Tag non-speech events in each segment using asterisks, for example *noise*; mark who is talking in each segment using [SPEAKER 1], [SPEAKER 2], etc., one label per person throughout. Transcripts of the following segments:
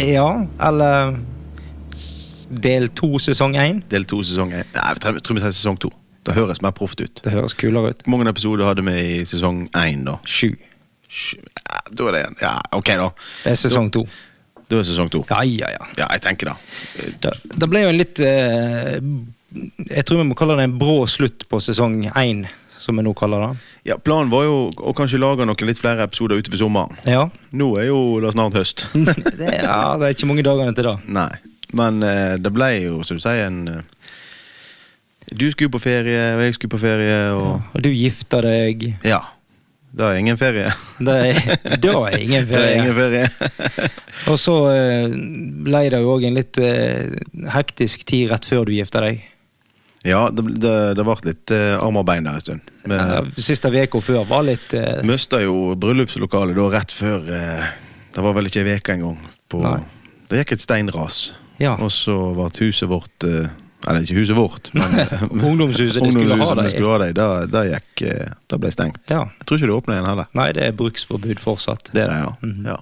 [SPEAKER 1] Ja, eller s- del to sesong én.
[SPEAKER 2] Del to sesong én. Nei, vi tre- tror vi tar sesong to. Det høres mer proft ut.
[SPEAKER 1] Det høres kulere ut.
[SPEAKER 2] Hvor mange episoder hadde vi i sesong én, da?
[SPEAKER 1] Sju.
[SPEAKER 2] Sju. Ja, da er det en. Ja, ok, da.
[SPEAKER 1] Det er sesong to.
[SPEAKER 2] Da er sesong to.
[SPEAKER 1] Ja, ja, ja.
[SPEAKER 2] Ja, jeg tenker det.
[SPEAKER 1] Det, det ble jo en litt eh, Jeg tror vi må kalle det en brå slutt på sesong én, som vi nå kaller det.
[SPEAKER 2] Ja, Planen var jo å kanskje lage noen litt flere episoder utover sommeren.
[SPEAKER 1] Ja.
[SPEAKER 2] Nå er jo det snart høst.
[SPEAKER 1] *laughs* Det, ja, det er ikke mange dagene til det.
[SPEAKER 2] Nei. Men eh, det ble jo, som du sier, en eh, Du skulle på ferie, og jeg skulle på ferie, og
[SPEAKER 1] Og du gifter deg.
[SPEAKER 2] Ja. Det er ingen ferie.
[SPEAKER 1] Det er, *laughs* da er ingen
[SPEAKER 2] Det er ingen
[SPEAKER 1] ferie.
[SPEAKER 2] ferie.
[SPEAKER 1] Og så eh, ble det jo òg en litt eh, hektisk tid rett før du gifter deg.
[SPEAKER 2] Ja, det, det, det ble litt eh, arm og bein der en stund. Vi
[SPEAKER 1] Eh, Siste uka før var litt eh,
[SPEAKER 2] mista jo bryllupslokalet da rett før eh, Det var vel ikke ei uke engang. på-
[SPEAKER 1] Nei. Ah.
[SPEAKER 2] Det gikk et steinras.
[SPEAKER 1] Ja.
[SPEAKER 2] Og så ble huset vårt eh, Eller ikke huset vårt, men
[SPEAKER 1] *laughs* Ungdomshuset de skulle ha
[SPEAKER 2] ungdomshuset vi
[SPEAKER 1] deg i.
[SPEAKER 2] skulle ha deg, det, det gikk eh, Det ble stengt.
[SPEAKER 1] Ja.
[SPEAKER 2] Jeg tror ikke det åpna igjen heller.
[SPEAKER 1] Nei, det er bruksforbud fortsatt.
[SPEAKER 2] Det er det, ja.
[SPEAKER 1] Mhm.
[SPEAKER 2] ja.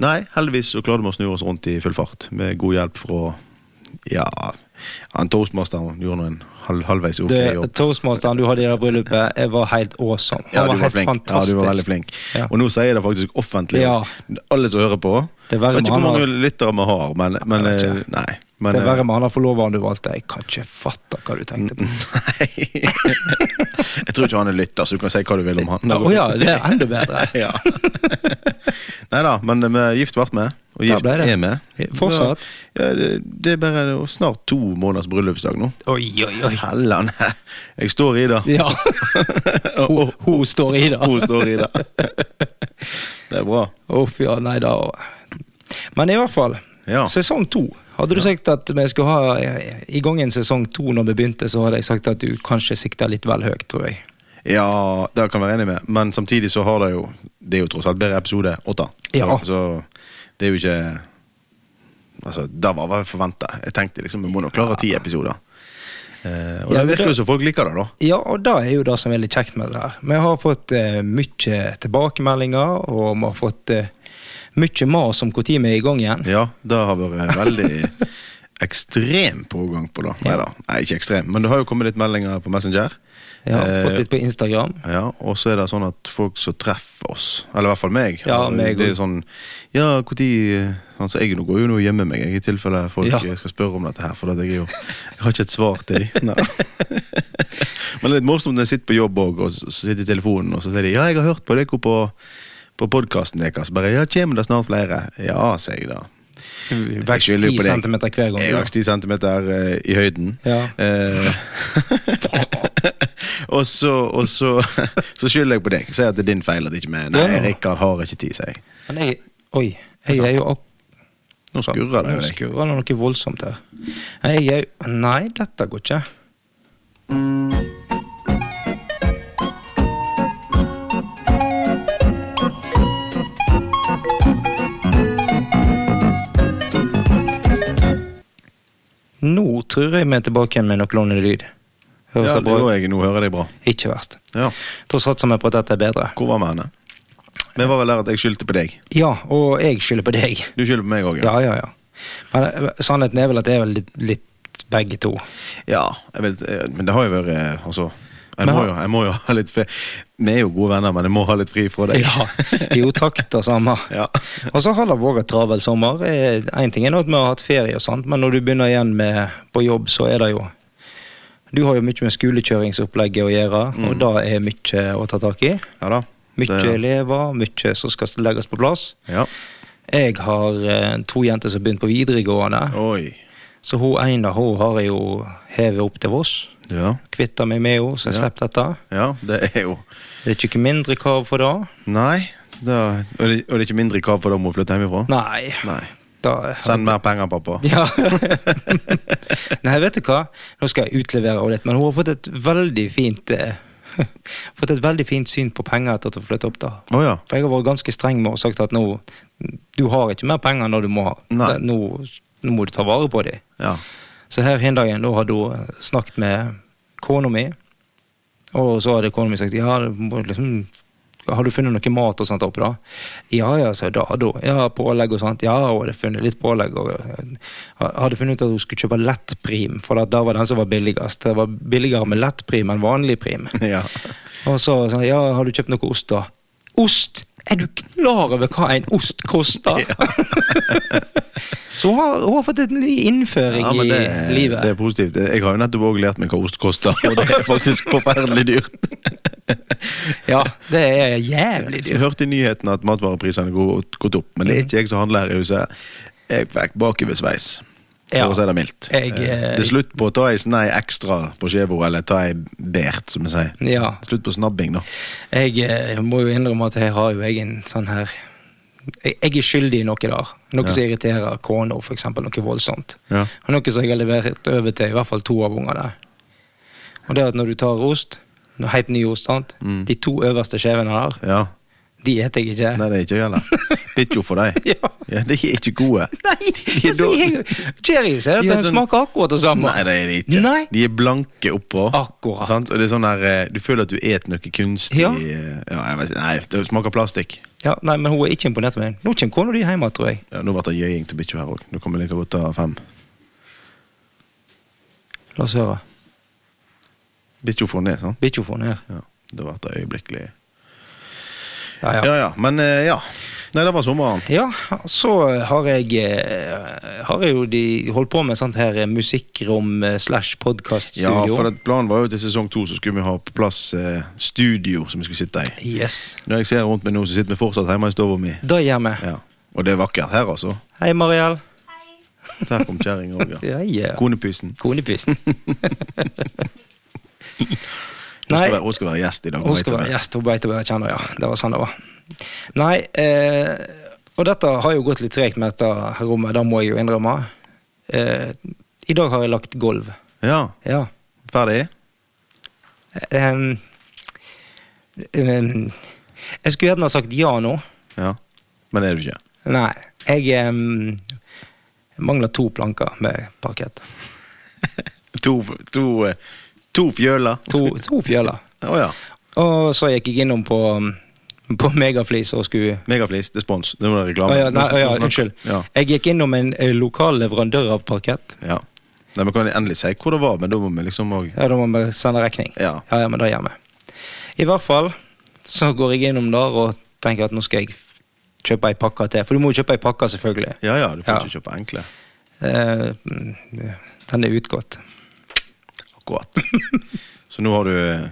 [SPEAKER 2] Nei, heldigvis så klarte vi å snu oss rundt i full fart, med god hjelp fra ja, han toastmasteren gjorde nå en halv, halvveis ok
[SPEAKER 1] Du,
[SPEAKER 2] jobb.
[SPEAKER 1] Toastmasteren du hadde i det bryllupet, jeg var helt awesome. Han
[SPEAKER 2] Ja,
[SPEAKER 1] var
[SPEAKER 2] du var
[SPEAKER 1] helt
[SPEAKER 2] flink.
[SPEAKER 1] fantastisk.
[SPEAKER 2] Ja, du var veldig flink.
[SPEAKER 1] Ja.
[SPEAKER 2] Og nå sier jeg det faktisk offentlig.
[SPEAKER 1] Ja.
[SPEAKER 2] Alle som hører på.
[SPEAKER 1] Det er
[SPEAKER 2] Jeg
[SPEAKER 1] verre
[SPEAKER 2] vet
[SPEAKER 1] med
[SPEAKER 2] ikke hvor
[SPEAKER 1] han
[SPEAKER 2] mange
[SPEAKER 1] har-
[SPEAKER 2] lyttere vi har, men, men
[SPEAKER 1] Jeg vet
[SPEAKER 2] eh, Nei. Men,
[SPEAKER 1] det er
[SPEAKER 2] eh,
[SPEAKER 1] verre med han der forloveren du valgte. Jeg kan ikke fatte hva du tenkte
[SPEAKER 2] *laughs*
[SPEAKER 1] på.
[SPEAKER 2] Nei. jeg tror ikke han er lytter, så du kan si hva du vil om han.
[SPEAKER 1] Å ja, det er enda bedre.
[SPEAKER 2] *laughs* ja. *laughs* Nei da, men eh, vi er gift vært med, og
[SPEAKER 1] Der
[SPEAKER 2] gift
[SPEAKER 1] ble det.
[SPEAKER 2] er med.
[SPEAKER 1] Fortsatt.
[SPEAKER 2] Ja, det, det er bare snart to måneders bryllupsdag nå.
[SPEAKER 1] Oi, oi, oi.
[SPEAKER 2] Helland, jeg står i det.
[SPEAKER 1] Ja, *laughs*
[SPEAKER 2] *laughs*
[SPEAKER 1] hun, hun står i det.
[SPEAKER 2] Hun står i
[SPEAKER 1] *laughs*
[SPEAKER 2] det. Det er bra.
[SPEAKER 1] Uff, ja, nei da. Men i hvert fall,
[SPEAKER 2] Ja.
[SPEAKER 1] sesong to. Hadde du sagt at vi skulle ha eh, i gang en sesong to når vi begynte, så hadde jeg sagt at du kanskje sikta litt vel høyt, tror jeg.
[SPEAKER 2] Ja, det kan jeg være enig med, men samtidig så har det jo Det er jo tross alt bedre episode åtte.
[SPEAKER 1] Ja.
[SPEAKER 2] Så, så det er jo ikke Altså, det var hva jeg forventa. Jeg tenkte liksom, vi må nå klare ti episoder. Eh, og
[SPEAKER 1] Ja,
[SPEAKER 2] det
[SPEAKER 1] men
[SPEAKER 2] virker
[SPEAKER 1] det-
[SPEAKER 2] jo som folk liker det, da.
[SPEAKER 1] Ja, og det er jo det som er litt kjekt med det her. Vi har fått eh, mye tilbakemeldinger, og vi har fått eh, mye mas om når vi er i gang igjen.
[SPEAKER 2] Ja, det har vært veldig ekstrem pågang på det. Nei da, Nei, ikke ekstrem, men det har jo kommet litt meldinger på Messenger.
[SPEAKER 1] Jeg har
[SPEAKER 2] Eh,
[SPEAKER 1] fått litt på Instagram.
[SPEAKER 2] Ja, og så er det sånn at folk som treffer oss, eller i hvert fall meg
[SPEAKER 1] Ja,
[SPEAKER 2] har-
[SPEAKER 1] meg
[SPEAKER 2] Det er
[SPEAKER 1] også.
[SPEAKER 2] sånn Ja, når altså, Jeg nå går jo nå og gjemmer meg, jeg, i tilfelle folk
[SPEAKER 1] Ja.
[SPEAKER 2] eh, skal spørre om dette her. For at jeg, er jo, jeg har ikke et svar til
[SPEAKER 1] *laughs*
[SPEAKER 2] dem. Nei. Men det er litt morsomt når jeg sitter på jobb òg, og så så sitter jeg i telefonen, og så sier de Ja, jeg har hørt på dere på, på podkasten deres. Bare Ja, kommer det snart flere? Ja, sier jeg da.
[SPEAKER 1] Vekst
[SPEAKER 2] skylder
[SPEAKER 1] 10
[SPEAKER 2] jo på deg.
[SPEAKER 1] cm hver gang.
[SPEAKER 2] Jeg
[SPEAKER 1] Ja.
[SPEAKER 2] vokste 10 centimeter eh, i høyden.
[SPEAKER 1] Ja.
[SPEAKER 2] Eh, *laughs* og så, og så, *laughs* så skylder jeg på deg. Sier at det er din feil at ikke vi Nei,
[SPEAKER 1] Ja.
[SPEAKER 2] Rikard har ikke tid, sier jeg.
[SPEAKER 1] Men jeg, oi, jeg er jo ak-
[SPEAKER 2] Nå skurrer det
[SPEAKER 1] Nå
[SPEAKER 2] jo deg.
[SPEAKER 1] skurrer det noe voldsomt her. Jeg er jo Nei, dette går ikke. Nå tror jeg vi er tilbake igjen med noe lånende lyd. Høres
[SPEAKER 2] Ja,
[SPEAKER 1] det
[SPEAKER 2] det
[SPEAKER 1] bra
[SPEAKER 2] gjorde
[SPEAKER 1] ut?
[SPEAKER 2] jeg. Nå hører jeg deg bra.
[SPEAKER 1] Ikke verst.
[SPEAKER 2] Ja.
[SPEAKER 1] Da satser vi på at dette er bedre.
[SPEAKER 2] Hvor var vi henne? Vi var vel der at jeg skyldte på deg.
[SPEAKER 1] Ja, og jeg skylder på deg.
[SPEAKER 2] Du skylder på meg òg, ja.
[SPEAKER 1] Ja, ja, ja. Men eh, sannheten er vel at det er vel litt, litt begge to.
[SPEAKER 2] ja jeg vet, eh, men det har jo vært eh, Altså, jeg
[SPEAKER 1] Men
[SPEAKER 2] må,
[SPEAKER 1] har-
[SPEAKER 2] jo, jeg må jo ha litt fri. Vi er jo gode venner, men jeg må ha litt fri fra deg.
[SPEAKER 1] Ja, jo takk, det samme.
[SPEAKER 2] *laughs* Ja.
[SPEAKER 1] Og så har det vært travel sommer. Én ting er nå at vi har hatt ferie, og sånt, men når du begynner igjen med, på jobb, så er det jo Du har jo mye med skolekjøringsopplegget å gjøre, og det er mye å ta tak i.
[SPEAKER 2] ja da.
[SPEAKER 1] Mye
[SPEAKER 2] Mm. Det-
[SPEAKER 1] elever, mye som skal legges på plass.
[SPEAKER 2] Ja.
[SPEAKER 1] Jeg har eh, to jenter som begynte på videregående,
[SPEAKER 2] Oi.
[SPEAKER 1] så hun ene hun har jeg jo hevet opp til Voss.
[SPEAKER 2] Ja.
[SPEAKER 1] Kvitta meg med henne, så jeg
[SPEAKER 2] Ja.
[SPEAKER 1] slapp dette.
[SPEAKER 2] ja. Det er jo
[SPEAKER 1] Det er ikke mindre krav for det.
[SPEAKER 2] Nei, Da, og, det, og det er ikke mindre krav for dem å flytte hjemmefra?
[SPEAKER 1] Nei,
[SPEAKER 2] Nei.
[SPEAKER 1] da
[SPEAKER 2] Send mer penger, pappa.
[SPEAKER 1] Ja. Nei, vet du hva? Nå skal jeg utlevere henne litt, men hun har fått et veldig fint eh, *laughs* fått et veldig fint syn på penger etter at hun flyttet opp. da.
[SPEAKER 2] Å ja.
[SPEAKER 1] For jeg har vært ganske streng med og sagt at nå, du har ikke mer penger enn det du må ha.
[SPEAKER 2] Nei.
[SPEAKER 1] Det- Nå, nå må du ta vare på dem. *laughs*
[SPEAKER 2] ja.
[SPEAKER 1] Så her en dag da hadde hun eh, snakket med kona mi, og så hadde kona mi sagt ja, du må liksom, har du funnet noe mat og sånt oppi da? Ja, ja, sa jeg da, da. Ja, pålegg og sånt. Ja, hun hadde funnet litt pålegg. Og, eh, hadde funnet ut at hun skulle kjøpe lettprim, for da var den som var billigst. Det var billigere med lettprim enn vanlig prim.
[SPEAKER 2] ja.
[SPEAKER 1] Og så sa jeg, ja, har du kjøpt noe ost da? Ost? Er du klar over hva en ost koster? *laughs* så hun har, hun har fått en ny innføring
[SPEAKER 2] Ja, men det,
[SPEAKER 1] i livet.
[SPEAKER 2] det er positivt. Jeg har jo nettopp også lært meg hva ost koster, og det er
[SPEAKER 1] *laughs*
[SPEAKER 2] faktisk forferdelig dyrt.
[SPEAKER 1] Ja, det er jævlig
[SPEAKER 2] Jeg
[SPEAKER 1] dyrt.
[SPEAKER 2] hørte i nyheten at matvareprisene går gått opp, men det er ikke jeg som handler her i huset. Jeg fikk bakoversveis, for
[SPEAKER 1] Ja.
[SPEAKER 2] å si det mildt.
[SPEAKER 1] Jeg,
[SPEAKER 2] Eh,
[SPEAKER 1] eh,
[SPEAKER 2] Det er slutt på å ta ei snei ekstra på skjeva, eller ta ei bert, som vi sier.
[SPEAKER 1] Ja.
[SPEAKER 2] Slutt på snabbing, da.
[SPEAKER 1] Jeg eh, må jo innrømme at jeg har jo egen sånn her Jeg jeg er skyldig i noe der. Noe
[SPEAKER 2] Ja.
[SPEAKER 1] som irriterer kona, for eksempel. Noe voldsomt.
[SPEAKER 2] Ja.
[SPEAKER 1] Og noe som jeg har levert over til i hvert fall to av ungene. Og det er at når du tar ost, noe helt ny ost, sant?
[SPEAKER 2] Mm.
[SPEAKER 1] de to øverste skjevene der,
[SPEAKER 2] ja.
[SPEAKER 1] de eter jeg ikke.
[SPEAKER 2] Nei, det er ikke jeg heller. Bikkjo for deg.
[SPEAKER 1] *laughs* Ja.
[SPEAKER 2] Ja, de er ikke gode.
[SPEAKER 1] Nei!
[SPEAKER 2] *laughs* Ja,
[SPEAKER 1] Altså,
[SPEAKER 2] da-
[SPEAKER 1] jeg, Cherries jeg,
[SPEAKER 2] Ja,
[SPEAKER 1] den
[SPEAKER 2] den-
[SPEAKER 1] smaker akkurat det samme.
[SPEAKER 2] Nei, det er de ikke.
[SPEAKER 1] Nei.
[SPEAKER 2] De er blanke oppå.
[SPEAKER 1] Akkurat.
[SPEAKER 2] Sant? Og det er sånn der, eh, Du føler at du et noe kunstig
[SPEAKER 1] Ja.
[SPEAKER 2] eh, ja jeg vet, Nei, det smaker plastikk.
[SPEAKER 1] Ja, nei, men hun er ikke imponert over meg. Nå kommer kona di hjem, tror jeg.
[SPEAKER 2] Ja, nå ble det jøying til bikkja her òg. Nå kan vi like godt ta fem.
[SPEAKER 1] La oss høre.
[SPEAKER 2] Bikkja får ned, sant?
[SPEAKER 1] Bikkjofon her.
[SPEAKER 2] Ja, Da ble det øyeblikkelig
[SPEAKER 1] Ja, ja.
[SPEAKER 2] Ja ja. Men eh, ja. Nei, det var sommeren.
[SPEAKER 1] Ja, så har jeg, eh, har jeg jo de holdt på med sånt her eh, musikkrom eh, slash
[SPEAKER 2] Ja,
[SPEAKER 1] podkaststudio.
[SPEAKER 2] for det, Planen var jo til sesong to så skulle vi ha på plass eh, studio som vi skulle sitte i.
[SPEAKER 1] Yes.
[SPEAKER 2] Når jeg ser rundt meg nå, så sitter vi fortsatt hjemme i stua mi.
[SPEAKER 1] Det gjør vi.
[SPEAKER 2] Ja. Og det er vakkert her, altså.
[SPEAKER 1] Hei, Mariell.
[SPEAKER 2] Der kom kjerringa òg, ja.
[SPEAKER 1] Ja, *laughs* ja.
[SPEAKER 2] Konepysen. *laughs*
[SPEAKER 1] Konepusen.
[SPEAKER 2] Hun skal,
[SPEAKER 1] Nei,
[SPEAKER 2] være, hun skal være gjest i dag.
[SPEAKER 1] hun skal
[SPEAKER 2] vet
[SPEAKER 1] være
[SPEAKER 2] du.
[SPEAKER 1] gjest. Hun beit og bare kjenner, ja. Det var sånn det var. Nei, eh, og dette har jo gått litt tregt med dette rommet, det må jeg jo innrømme. Eh, I dag har jeg lagt gulv.
[SPEAKER 2] Ja,
[SPEAKER 1] Ja.
[SPEAKER 2] Ferdig?
[SPEAKER 1] Ehm, ehm, jeg skulle gjerne ha sagt ja nå.
[SPEAKER 2] Ja. Men det er du ikke.
[SPEAKER 1] Nei. Jeg ehm, mangler to planker med parkett.
[SPEAKER 2] To, to, eh, to fjøler.
[SPEAKER 1] To, to fjeller.
[SPEAKER 2] Å ja.
[SPEAKER 1] Og så gikk jeg innom på, på Megaflis og skulle
[SPEAKER 2] Megaflis, det er spons. Det er noe
[SPEAKER 1] Å
[SPEAKER 2] reklame.
[SPEAKER 1] ja, nei,
[SPEAKER 2] Nå skal-
[SPEAKER 1] å ja,
[SPEAKER 2] nå skal-
[SPEAKER 1] unnskyld.
[SPEAKER 2] Ja,
[SPEAKER 1] Jeg gikk innom en eh, lokal leverandør av parkett.
[SPEAKER 2] ja. Nei, men kan jeg endelig si hvor det var, men da må vi liksom òg
[SPEAKER 1] Ja, Da må vi sende regning.
[SPEAKER 2] Ja.
[SPEAKER 1] Ja, ja, men det gjør vi. I hvert fall så går jeg innom der og tenker at nå skal jeg f- kjøpe ei pakke til. For du må jo kjøpe ei pakke, selvfølgelig.
[SPEAKER 2] Ja ja, du får
[SPEAKER 1] Ja.
[SPEAKER 2] ikke kjøpe enkle.
[SPEAKER 1] Eh, mm, den er utgått.
[SPEAKER 2] Akkurat. *laughs* Så nå har du eh,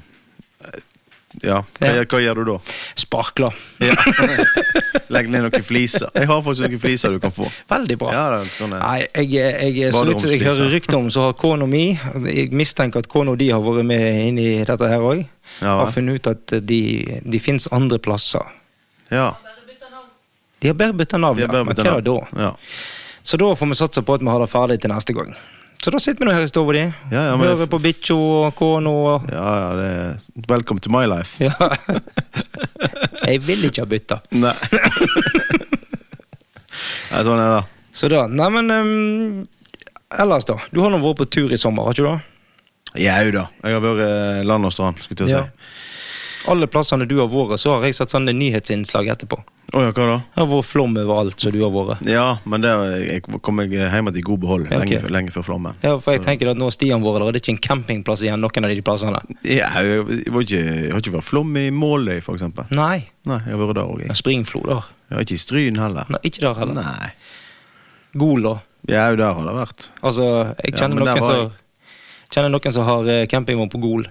[SPEAKER 2] Ja, hva,
[SPEAKER 1] Ja.
[SPEAKER 2] hva gjør du da?
[SPEAKER 1] Sparkler.
[SPEAKER 2] Ja. *laughs* Legg ned noen fliser. Jeg har faktisk noen fliser du kan få.
[SPEAKER 1] Veldig bra.
[SPEAKER 2] Ja, det er sånn, eh. sånne
[SPEAKER 1] Nei, jeg, eh, jeg, så vidt jeg
[SPEAKER 2] Baderomspriser.
[SPEAKER 1] hører rykter om, så har kona mi Jeg mistenker at kona di har vært med inn i dette her òg.
[SPEAKER 2] Ja,
[SPEAKER 1] har
[SPEAKER 2] vel.
[SPEAKER 1] funnet ut at eh, de, de fins andre plasser.
[SPEAKER 2] Ja.
[SPEAKER 1] De har bare bytta navn,
[SPEAKER 2] Vi er
[SPEAKER 1] ja.
[SPEAKER 2] bare
[SPEAKER 1] men
[SPEAKER 2] bytta
[SPEAKER 1] hva er det da?
[SPEAKER 2] navn. Ja.
[SPEAKER 1] Så da får vi satse på at vi har det ferdig til neste gang. Så da sitter vi nå her i stua di,
[SPEAKER 2] Ja, ja, men-
[SPEAKER 1] hører på bikkja og kona og
[SPEAKER 2] ja ja, det er Welcome to my life.
[SPEAKER 1] Ja. *laughs* Jeg vil ikke ha bytta.
[SPEAKER 2] *laughs* *laughs* Nei. Nei, sånn er det.
[SPEAKER 1] Så da Neimen um, Ellers, da. Du har nå vært på tur i sommer, har ikke du det?
[SPEAKER 2] Jau da. Jeg har vært eh, land og strand, skulle jeg til å
[SPEAKER 1] Ja.
[SPEAKER 2] si.
[SPEAKER 1] Alle plassene du har vært, så har jeg sett sånne nyhetsinnslag etterpå.
[SPEAKER 2] Å ja, hva da?
[SPEAKER 1] Det har vært flom overalt som du har vært.
[SPEAKER 2] Ja, men det jeg kom jeg hjem til i god behold
[SPEAKER 1] Ja, ok.
[SPEAKER 2] lenge, før- lenge før flommen.
[SPEAKER 1] Ja, for jeg tenker at nå har Stian vært der, og det er ikke en campingplass igjen noen av de plassene.
[SPEAKER 2] Ja, jeg, jeg, var ikke, jeg har ikke vært flom i Måløy, for eksempel.
[SPEAKER 1] Nei.
[SPEAKER 2] Nei, jeg har vært der òg.
[SPEAKER 1] Ja,
[SPEAKER 2] Jeg.
[SPEAKER 1] Springflo, da.
[SPEAKER 2] jeg har ikke i Stryn heller.
[SPEAKER 1] Nei, ikke der heller.
[SPEAKER 2] Nei.
[SPEAKER 1] Gol, da.
[SPEAKER 2] Jau, der har det vært.
[SPEAKER 1] Altså, jeg
[SPEAKER 2] Ja,
[SPEAKER 1] kjenner
[SPEAKER 2] men der
[SPEAKER 1] noen
[SPEAKER 2] var
[SPEAKER 1] som Kjenner noen som har eh, campingvogn på Gol.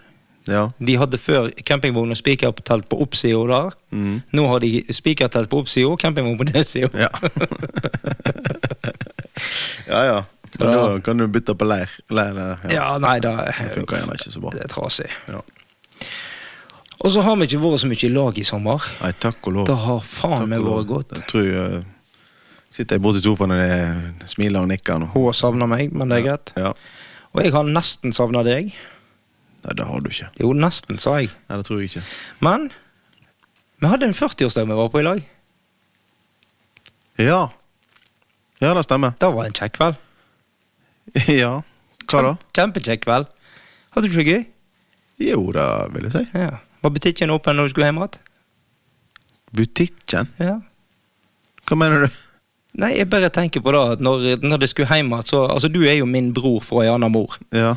[SPEAKER 2] Ja.
[SPEAKER 1] De hadde før campingvogn og spikertelt på oppsida der.
[SPEAKER 2] Mm.
[SPEAKER 1] Nå har de spikertelt på oppsida og campingvogn på nedsida.
[SPEAKER 2] *laughs* Ja. ja ja. Så
[SPEAKER 1] Ja.
[SPEAKER 2] da kan du bytte på leir. leir, leir.
[SPEAKER 1] Ja, nei, da
[SPEAKER 2] Det funker gjerne ikke så bra.
[SPEAKER 1] Det er trasig.
[SPEAKER 2] Ja.
[SPEAKER 1] Og så har vi ikke vært så mye i lag i sommer.
[SPEAKER 2] Nei, takk og lov.
[SPEAKER 1] Det har faen meg vært godt.
[SPEAKER 2] Jeg tror jeg sitter jeg borti sofaen og jeg smiler og nikker nå.
[SPEAKER 1] Hun har savna meg, men det er greit.
[SPEAKER 2] Ja.
[SPEAKER 1] Og jeg har nesten savna deg.
[SPEAKER 2] Nei, det har du ikke.
[SPEAKER 1] Jo, nesten, sa jeg.
[SPEAKER 2] Nei, det tror jeg ikke.
[SPEAKER 1] Men vi hadde en 40-årsdag vi var på i lag.
[SPEAKER 2] Ja. Ja, det stemmer. *laughs*
[SPEAKER 1] Det var en kjekk kveld.
[SPEAKER 2] ja. Hva da?
[SPEAKER 1] Kjempekjekk kveld. Hadde du ikke det gøy?
[SPEAKER 2] Jo, det vil jeg si.
[SPEAKER 1] Ja. Var butikken åpen når du skulle hjem igjen?
[SPEAKER 2] Butikken?
[SPEAKER 1] Ja.
[SPEAKER 2] Hva mener du?
[SPEAKER 1] Nei, jeg bare tenker på det at når, når det skulle hjem igjen, så Altså, du er jo min bror fra ei anna mor.
[SPEAKER 2] Ja.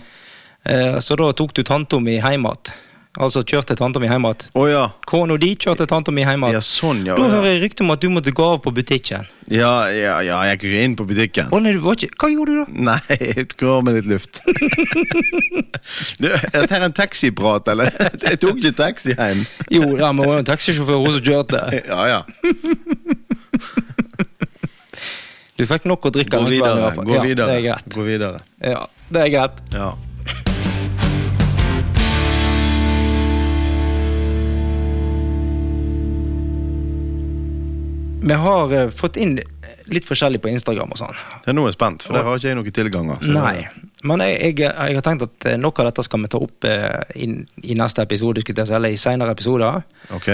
[SPEAKER 1] Eh, så da tok du tanta mi hjem igjen. Altså kjørte tanta mi hjem igjen.
[SPEAKER 2] Å ja.
[SPEAKER 1] Kona di kjørte tanta mi hjem
[SPEAKER 2] Ja,
[SPEAKER 1] igjen.
[SPEAKER 2] sånn, ja.
[SPEAKER 1] Da
[SPEAKER 2] Ja,
[SPEAKER 1] hører jeg rykte om at du måtte gå av på butikken.
[SPEAKER 2] ja, ja, ja jeg gikk jo ikke inn på butikken.
[SPEAKER 1] Å nei, du var ikke Hva gjorde du da?
[SPEAKER 2] Nei, jeg skulle av meg litt
[SPEAKER 1] *laughs*
[SPEAKER 2] luft. du, er dette her en taxiprat, eller? Jeg tok ikke taxi hjem.
[SPEAKER 1] Jo, ja, men hun var jo en taxisjåfør, hun som kjørte.
[SPEAKER 2] Ja, ja.
[SPEAKER 1] Du fikk nok å drikke. den kvelden
[SPEAKER 2] Gå
[SPEAKER 1] i
[SPEAKER 2] videre.
[SPEAKER 1] hvert fall.
[SPEAKER 2] Gå
[SPEAKER 1] Ja, det
[SPEAKER 2] videre.
[SPEAKER 1] er greit.
[SPEAKER 2] Gå videre.
[SPEAKER 1] Ja, det er greit.
[SPEAKER 2] Ja.
[SPEAKER 1] Vi har eh, fått inn litt forskjellig på Instagram og sånn.
[SPEAKER 2] Ja, nå er jeg spent, for der har ikke jeg noen tilganger. så-
[SPEAKER 1] Nei. Men jeg, jeg, jeg har tenkt at eh, noe av dette skal vi ta opp eh, i, i neste episode, skulle jeg til å si, eller i senere episoder.
[SPEAKER 2] Ok.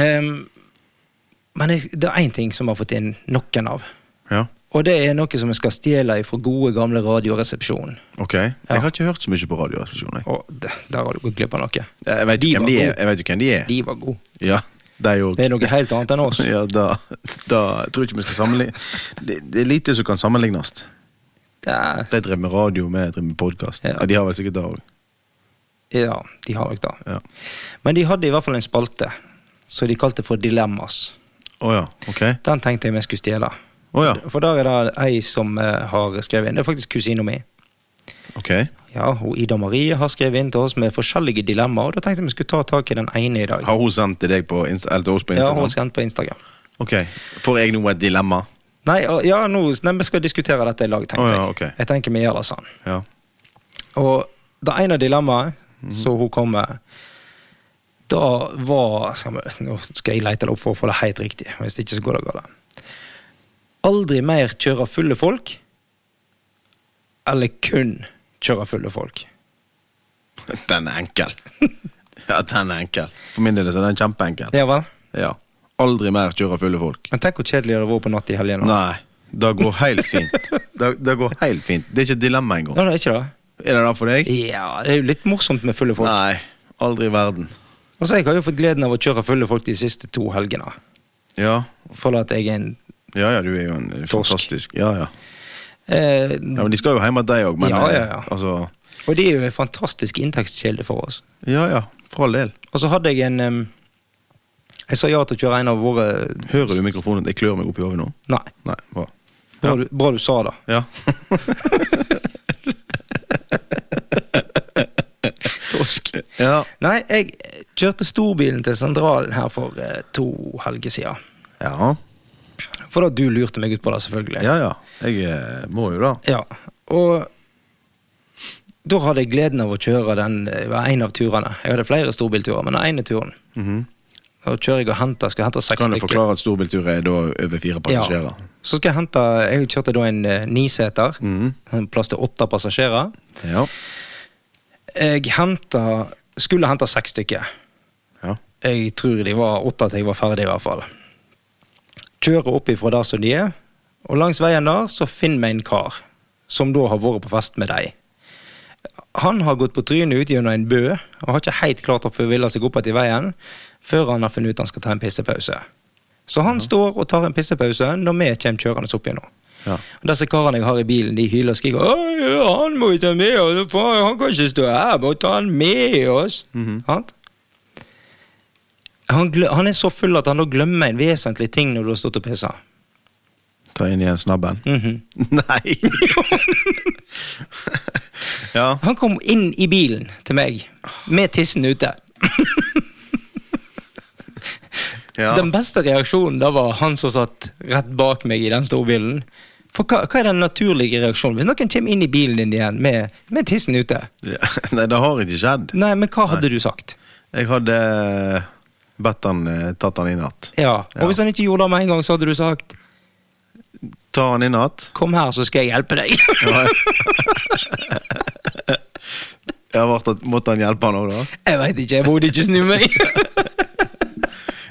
[SPEAKER 1] Ehm, men jeg, det er én ting som vi har fått inn noen av.
[SPEAKER 2] Ja.
[SPEAKER 1] Og det er noe som vi skal stjele fra gode, gamle Radioresepsjonen.
[SPEAKER 2] Ok. Jeg har ikke hørt så mye på Radioresepsjonen. jeg.
[SPEAKER 1] Og det, der har du gått glipp av noe.
[SPEAKER 2] Jeg vet
[SPEAKER 1] De
[SPEAKER 2] jo hvem
[SPEAKER 1] var
[SPEAKER 2] de er.
[SPEAKER 1] gode.
[SPEAKER 2] Jeg vet jo hvem de er.
[SPEAKER 1] De var gode.
[SPEAKER 2] Ja, de òg.
[SPEAKER 1] Det er noe helt annet enn oss.
[SPEAKER 2] Ja, da, da jeg tror jeg ikke vi skal sammenligne det, det er lite som kan sammenlignes.
[SPEAKER 1] Det er,
[SPEAKER 2] De drev med radio, vi drev med podkast.
[SPEAKER 1] Ja.
[SPEAKER 2] Ja. de har vel sikkert det òg.
[SPEAKER 1] ja, de har nok det.
[SPEAKER 2] Ja.
[SPEAKER 1] Men de hadde i hvert fall en spalte som de kalte for Dilemmas.
[SPEAKER 2] Å ja, ok.
[SPEAKER 1] Den tenkte jeg vi skulle stjele.
[SPEAKER 2] Å ja,
[SPEAKER 1] For der er det ei som eh, har skrevet inn. Det er faktisk kusina mi.
[SPEAKER 2] ok.
[SPEAKER 1] Ja, hun Ida Marie har skrevet inn til oss med forskjellige dilemmaer, og da tenkte jeg vi skulle ta tak i den ene i dag.
[SPEAKER 2] Har hun sendt til deg på, Insta, eller til oss på
[SPEAKER 1] Ja, hun
[SPEAKER 2] Instagram?
[SPEAKER 1] har sendt på Instagram.
[SPEAKER 2] Ok. Får jeg nå et dilemma?
[SPEAKER 1] Nei, å, ja, nå, nei, vi skal diskutere dette i lag, tenkte
[SPEAKER 2] Å,
[SPEAKER 1] jeg.
[SPEAKER 2] ja, ok.
[SPEAKER 1] Jeg tenker vi gjør det sånn.
[SPEAKER 2] Ja. *laughs*
[SPEAKER 1] Og det ene dilemmaet som hun kom med, da var skal vi- Nå skal jeg lete det opp for å få det helt riktig. Hvis ikke, så går det galt. Aldri mer kjøre fulle folk, eller kun kjøre fulle folk.
[SPEAKER 2] Den er enkel. Ja, den er enkel. For min del så er den kjempeenkel.
[SPEAKER 1] Ja vel?
[SPEAKER 2] Ja. Aldri mer kjøre fulle folk.
[SPEAKER 1] Men tenk hvor kjedelig det hadde vært på natt i helgen. Nei.
[SPEAKER 2] Nei, det går helt
[SPEAKER 1] *laughs*
[SPEAKER 2] fint. Det, det går helt fint. Det er ikke et dilemma engang.
[SPEAKER 1] Ja, det er ikke det?
[SPEAKER 2] Er det det for deg?
[SPEAKER 1] Ja, det er jo litt morsomt med fulle folk.
[SPEAKER 2] Nei. Aldri i verden.
[SPEAKER 1] Altså, Jeg har jo fått gleden av å kjøre fulle folk de siste to helgene.
[SPEAKER 2] Ja.
[SPEAKER 1] For at jeg er en
[SPEAKER 2] ja, ja, du er jo en
[SPEAKER 1] Torsk.
[SPEAKER 2] fantastisk Ja, ja.
[SPEAKER 1] eh,
[SPEAKER 2] ja men de skal jo hjem til deg òg, men
[SPEAKER 1] Ja, ja, ja.
[SPEAKER 2] eh, altså
[SPEAKER 1] Og det er jo en fantastisk inntektskilde for oss.
[SPEAKER 2] Ja, ja. For all del.
[SPEAKER 1] Og så hadde jeg en em, Jeg sa ja til å kjøre en av våre
[SPEAKER 2] Hører du mikrofonen? Jeg klør meg opp i hodet nå.
[SPEAKER 1] Nei.
[SPEAKER 2] Nei, bra.
[SPEAKER 1] Bra, du, bra du sa det.
[SPEAKER 2] Ja. *laughs*
[SPEAKER 1] Torsk.
[SPEAKER 2] Ja.
[SPEAKER 1] Nei, jeg kjørte storbilen til sentralen her for eh, to helger siden.
[SPEAKER 2] Ja,
[SPEAKER 1] For da du lurte meg ut på det, selvfølgelig.
[SPEAKER 2] ja. ja. Jeg eh, må jo da.
[SPEAKER 1] Ja, og da hadde jeg gleden av å kjøre den det var en av turene. Jeg hadde flere storbilturer, men den ene turen
[SPEAKER 2] Mhm.
[SPEAKER 1] Da kjører jeg og henter, skal jeg hente seks
[SPEAKER 2] Kan du
[SPEAKER 1] stykker.
[SPEAKER 2] forklare at storbiltur er da over fire passasjerer?
[SPEAKER 1] Så skal jeg hente Jeg kjørte da en eh, niseter.
[SPEAKER 2] Mhm.
[SPEAKER 1] en Plass til åtte passasjerer.
[SPEAKER 2] Ja.
[SPEAKER 1] Jeg henta Skulle hente seks stykker.
[SPEAKER 2] ja.
[SPEAKER 1] Jeg tror de var åtte til jeg var ferdig, i hvert fall. Kjører opp ifra der som de er, og langs veien der så finner vi en kar som da har vært på fest med deg. Han har gått på trynet ut gjennom en bø og har ikke helt klart å forville seg opp igjen i veien før han har funnet ut han skal ta en pissepause. Så han står og tar en pissepause når vi kommer kjørende opp igjen nå.
[SPEAKER 2] Ja.
[SPEAKER 1] Og Disse karene jeg har i bilen, de hyler og skriker «Oi, ja, 'Han må jo ta med oss! faen, Han kan ikke stå her! Må ta han med oss!'
[SPEAKER 2] Mhm.
[SPEAKER 1] Sant? han, gle- han er så full at han da glemmer en vesentlig ting når du har stått og Mhm. pissa.
[SPEAKER 2] Ta inn igjen snabben. *laughs* Nei! *laughs* ja.
[SPEAKER 1] Han kom inn i bilen til meg med tissen ute. Den
[SPEAKER 2] ja.
[SPEAKER 1] beste reaksjonen da var han som satt rett bak meg i den storbilen. For hva, hva er den naturlige reaksjonen hvis noen kommer inn i bilen din igjen med, med tissen ute?
[SPEAKER 2] *laughs* Nei, det har ikke skjedd.
[SPEAKER 1] Nei, men hva hadde du sagt?
[SPEAKER 2] Jeg hadde eh, bedt han eh, tatt han inn igjen.
[SPEAKER 1] Ja.
[SPEAKER 2] Ja.
[SPEAKER 1] Og hvis han ikke gjorde det med en gang, så hadde du sagt
[SPEAKER 2] Ta han inn igjen.
[SPEAKER 1] 'kom her, så skal jeg hjelpe deg'. *laughs*
[SPEAKER 2] *laughs* Jeg har vært at- Måtte han hjelpe han òg, da?
[SPEAKER 1] jeg veit ikke, jeg burde ikke snu meg.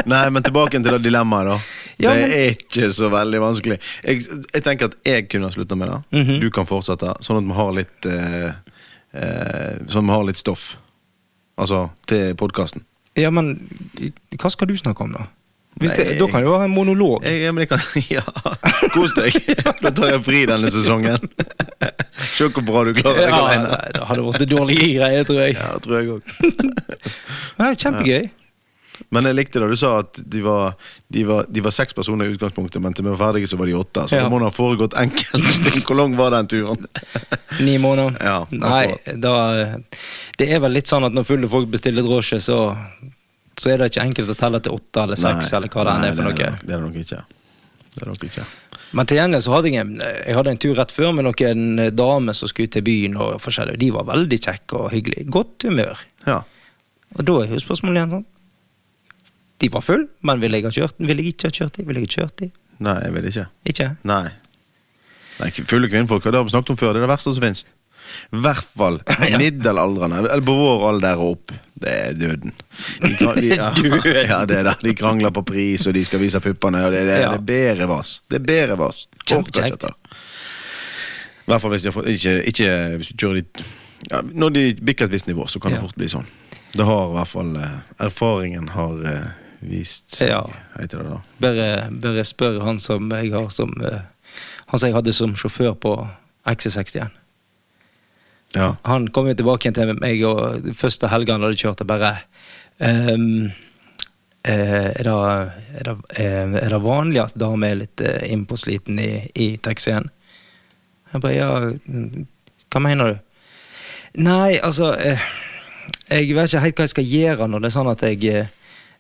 [SPEAKER 2] Nei, men tilbake til det dilemmaet, da.
[SPEAKER 1] Ja, men-
[SPEAKER 2] Det er ikke så veldig vanskelig. Jeg, jeg tenker at jeg kunne ha slutta med det.
[SPEAKER 1] Mhm.
[SPEAKER 2] Du kan fortsette, sånn at vi har litt eh, eh, Sånn at vi har litt stoff. Altså til podkasten.
[SPEAKER 1] ja, men hva skal du snakke om, da? Hvis det,
[SPEAKER 2] Nei,
[SPEAKER 1] da kan det være en monolog.
[SPEAKER 2] Jeg, ja, men jeg kan *laughs* Ja, kos *laughs* deg! Da tar jeg fri denne *laughs* sesongen. Se hvor bra du klarer deg
[SPEAKER 1] Ja,
[SPEAKER 2] alene.
[SPEAKER 1] nei, det hadde vært dårlige greier, tror jeg.
[SPEAKER 2] Ja, det tror jeg òg.
[SPEAKER 1] Ja, kjempegøy.
[SPEAKER 2] Men jeg likte det du sa, at de var, de var, de var seks personer i utgangspunktet, men til vi var ferdige, så var de åtte. Så
[SPEAKER 1] Ja.
[SPEAKER 2] det må da ha foregått enkelt. *laughs* Hvor lang var den turen?
[SPEAKER 1] *laughs* Ni måneder.
[SPEAKER 2] Ja,
[SPEAKER 1] Nei,
[SPEAKER 2] akkurat.
[SPEAKER 1] da Det er vel litt sånn at når fulle folk bestiller drosje, så så er det ikke enkelt å telle til åtte eller seks, eller hva det enn er for
[SPEAKER 2] det
[SPEAKER 1] noe.
[SPEAKER 2] nok- Det er det nok ikke. Det er det nok ikke.
[SPEAKER 1] Men til gjengjeld så hadde jeg en, jeg hadde en tur rett før med noen damer som skulle til byen og forskjellig. De var veldig kjekke og hyggelige. Godt humør.
[SPEAKER 2] Ja.
[SPEAKER 1] Og da er jo spørsmålet igjen sånn De var full, men ville jeg ha kjørt Ville jeg ikke ha kjørt de? Ville jeg ha kjørt de?
[SPEAKER 2] Nei, jeg vet ikke.
[SPEAKER 1] Ikke?
[SPEAKER 2] Nei. Nei, k- Fulle kvinnfolk, det har vi snakket om før. Det er det verste som finnes. I hvert fall
[SPEAKER 1] *laughs* Ja.
[SPEAKER 2] middelaldrende, eller på vår alder og opp. Det er døden. De kra-
[SPEAKER 1] *laughs*
[SPEAKER 2] de- ja, *laughs* ja, det er det. De krangler på pris, og de skal vise puppene. Og det, det,
[SPEAKER 1] Ja.
[SPEAKER 2] det er bedre vas. Det er bedre vas.
[SPEAKER 1] Kjempekjekt.
[SPEAKER 2] Orker ikke dette. I hvert fall hvis de har fått Ikke, ikke hvis du kjører de ja, Når de bikker et visst nivå, så kan
[SPEAKER 1] Ja.
[SPEAKER 2] det fort bli sånn. Det har i hvert fall eh, Erfaringen har eh, vist seg,
[SPEAKER 1] Ja.
[SPEAKER 2] heter det da.
[SPEAKER 1] Bare, bare spør han som jeg har som eh, Han som jeg hadde som sjåfør på XC61.
[SPEAKER 2] Ja.
[SPEAKER 1] Han kom jo tilbake igjen til meg og første helgen han hadde kjørt, og bare ehm, eh, er, det, er, det, eh, er det vanlig at damer er litt eh, innpåsliten i, i taxien? Jeg bare ja, mm, hva mener du? Nei, altså eh, Jeg vet ikke helt hva jeg skal gjøre når det er sånn at jeg eh,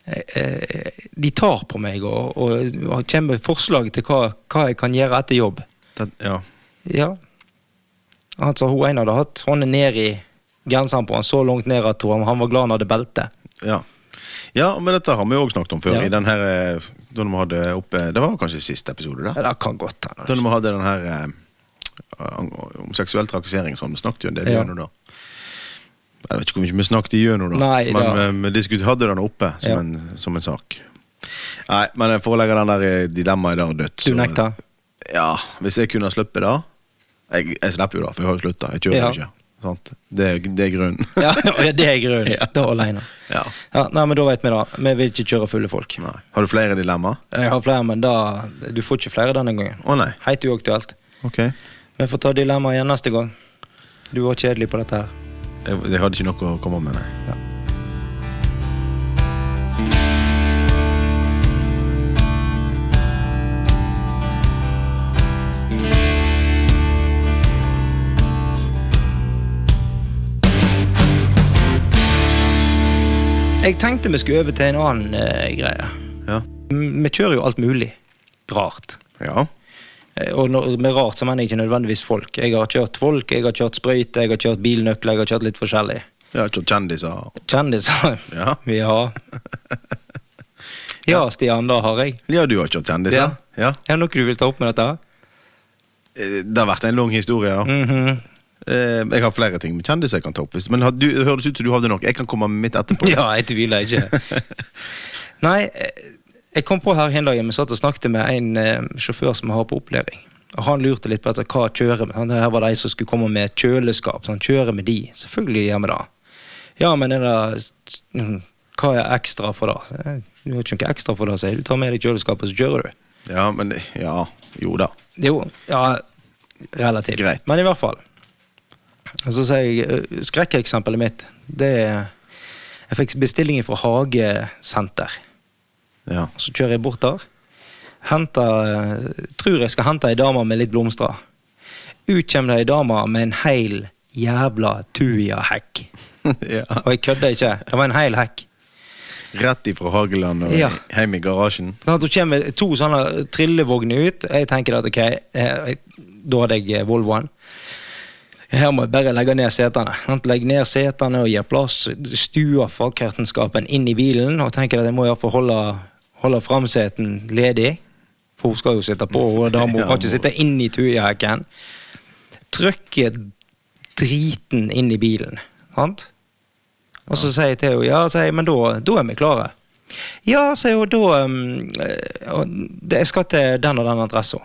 [SPEAKER 1] eh, De tar på meg og, og, og kommer med forslag til hva, hva jeg kan gjøre etter jobb.
[SPEAKER 2] Det, ja.
[SPEAKER 1] Ja. Altså, hun ene hadde hatt hånden ned i genseren på han så langt ned at hun, han var glad han hadde belte.
[SPEAKER 2] Ja. ja, men dette har vi jo òg snakket om før.
[SPEAKER 1] Ja.
[SPEAKER 2] I den her, eh, da vi hadde oppe, Det var kanskje siste episode,
[SPEAKER 1] Ja,
[SPEAKER 2] da.
[SPEAKER 1] det kan godt
[SPEAKER 2] Da
[SPEAKER 1] hende.
[SPEAKER 2] vi hadde den her eh, ang- om seksuell trakassering, sånn. Vi snakket jo en del
[SPEAKER 1] Ja.
[SPEAKER 2] gjennom da. Jeg vet ikke hvor mye vi snakket gjennom da,
[SPEAKER 1] Nei,
[SPEAKER 2] men
[SPEAKER 1] da.
[SPEAKER 2] eh, vi diskut- hadde den oppe som,
[SPEAKER 1] Ja.
[SPEAKER 2] en, som en sak. Nei, men eh, for å legge den der eh, dilemmaet der dødt
[SPEAKER 1] Du
[SPEAKER 2] så-
[SPEAKER 1] nekter?
[SPEAKER 2] Ja, hvis jeg kunne ha sluppet det jeg, jeg slipper jo det, for jeg har jo slutta. Jeg kjører jo
[SPEAKER 1] Ja.
[SPEAKER 2] ikke. Sant? Det, er- det er grunnen.
[SPEAKER 1] Ja, *laughs* ja, det er grunnen. Da alene.
[SPEAKER 2] *laughs* ja.
[SPEAKER 1] Ja, nei, men da vet vi det. Vi vil ikke kjøre fulle folk.
[SPEAKER 2] Nei. Har du flere dilemmaer?
[SPEAKER 1] Jeg har flere, men da, du får ikke flere denne gangen.
[SPEAKER 2] Å nei.
[SPEAKER 1] Helt uaktuelt.
[SPEAKER 2] Ok.
[SPEAKER 1] Vi får ta dilemmaet igjen neste gang. Du var kjedelig på dette her.
[SPEAKER 2] Jeg, jeg hadde ikke noe å komme med, nei.
[SPEAKER 1] Jeg tenkte vi skulle over til en annen eh, greie.
[SPEAKER 2] Ja.
[SPEAKER 1] M- Vi kjører jo alt mulig rart.
[SPEAKER 2] Ja.
[SPEAKER 1] Eh, Og når- med rart så mener jeg ikke nødvendigvis folk. Jeg har kjørt folk, jeg har kjørt sprøyte, jeg har kjørt bilnøkler, jeg har kjørt litt forskjellig.
[SPEAKER 2] Jeg har kjørt kjendiser.
[SPEAKER 1] Kjendiser? *laughs*
[SPEAKER 2] Ja.
[SPEAKER 1] Ja. Ja, Stian, det har jeg.
[SPEAKER 2] ja, du har kjørt
[SPEAKER 1] Ja.
[SPEAKER 2] kjendiser. Ja.
[SPEAKER 1] Er det noe du vil ta opp med dette? her?
[SPEAKER 2] Eh, Det har vært en lang historie, da.
[SPEAKER 1] Mhm.
[SPEAKER 2] Eh, Jeg har flere ting med kjendiser jeg kan ta opp. hvis- Men har du, det høres ut som du hadde nok. Jeg kan komme med
[SPEAKER 1] *laughs*
[SPEAKER 2] mitt etterpå.
[SPEAKER 1] Ja, jeg tviler ikke. *laughs* Nei, eh, jeg kom på her en dag, vi satt og snakket med en eh, sjåfør som vi har på opplæring. Og Han lurte litt på etter hva kjører med. Her var det ei som skulle komme med kjøleskap. Så han kjører med de. Selvfølgelig gjør vi det. Ja, men er det, mm, hva er ekstra for det? Så jeg, Du har ikke noe ekstra for det, sier jeg. Du tar med deg kjøleskapet, så kjører du.
[SPEAKER 2] Ja, men Ja. Jo da.
[SPEAKER 1] Jo, ja, relativt.
[SPEAKER 2] Greit.
[SPEAKER 1] Men i hvert fall. Og så sier jeg eh, Skrekkeksempelet mitt, det er Jeg fikk bestilling fra Hagesenter.
[SPEAKER 2] Ja. *laughs*
[SPEAKER 1] Så kjører jeg bort der. Henter eh, Tror jeg skal hente ei dame med litt blomster. Ut kommer det ei dame med en heil jævla tuja-hekk.
[SPEAKER 2] ja.
[SPEAKER 1] Og jeg kødder ikke. Det var en heil hekk.
[SPEAKER 2] Rett ifra Hageland og
[SPEAKER 1] Ja.
[SPEAKER 2] hjem i garasjen. *laughs*
[SPEAKER 1] Sånn at hun kommer med to sånne trillevogner ut. Jeg tenker at ok, eh, da hadde jeg eh, Volvoen. Her må jeg bare legge ned setene. Sant? Legg ned setene og gi plass. Stue fagkreftenskapen inn i bilen og tenker at jeg må iallfall holde, holde framseten ledig. For hun skal jo sitte på, og da må hun
[SPEAKER 2] Ja,
[SPEAKER 1] kan ikke
[SPEAKER 2] må-
[SPEAKER 1] sitte inn i tujahekken. Trykke driten inn i bilen, sant? Og så sier jeg til henne ja, sier jeg, men da, da er vi klare. Ja, sier hun, da um, eh, og det- Jeg skal til den og den adressen.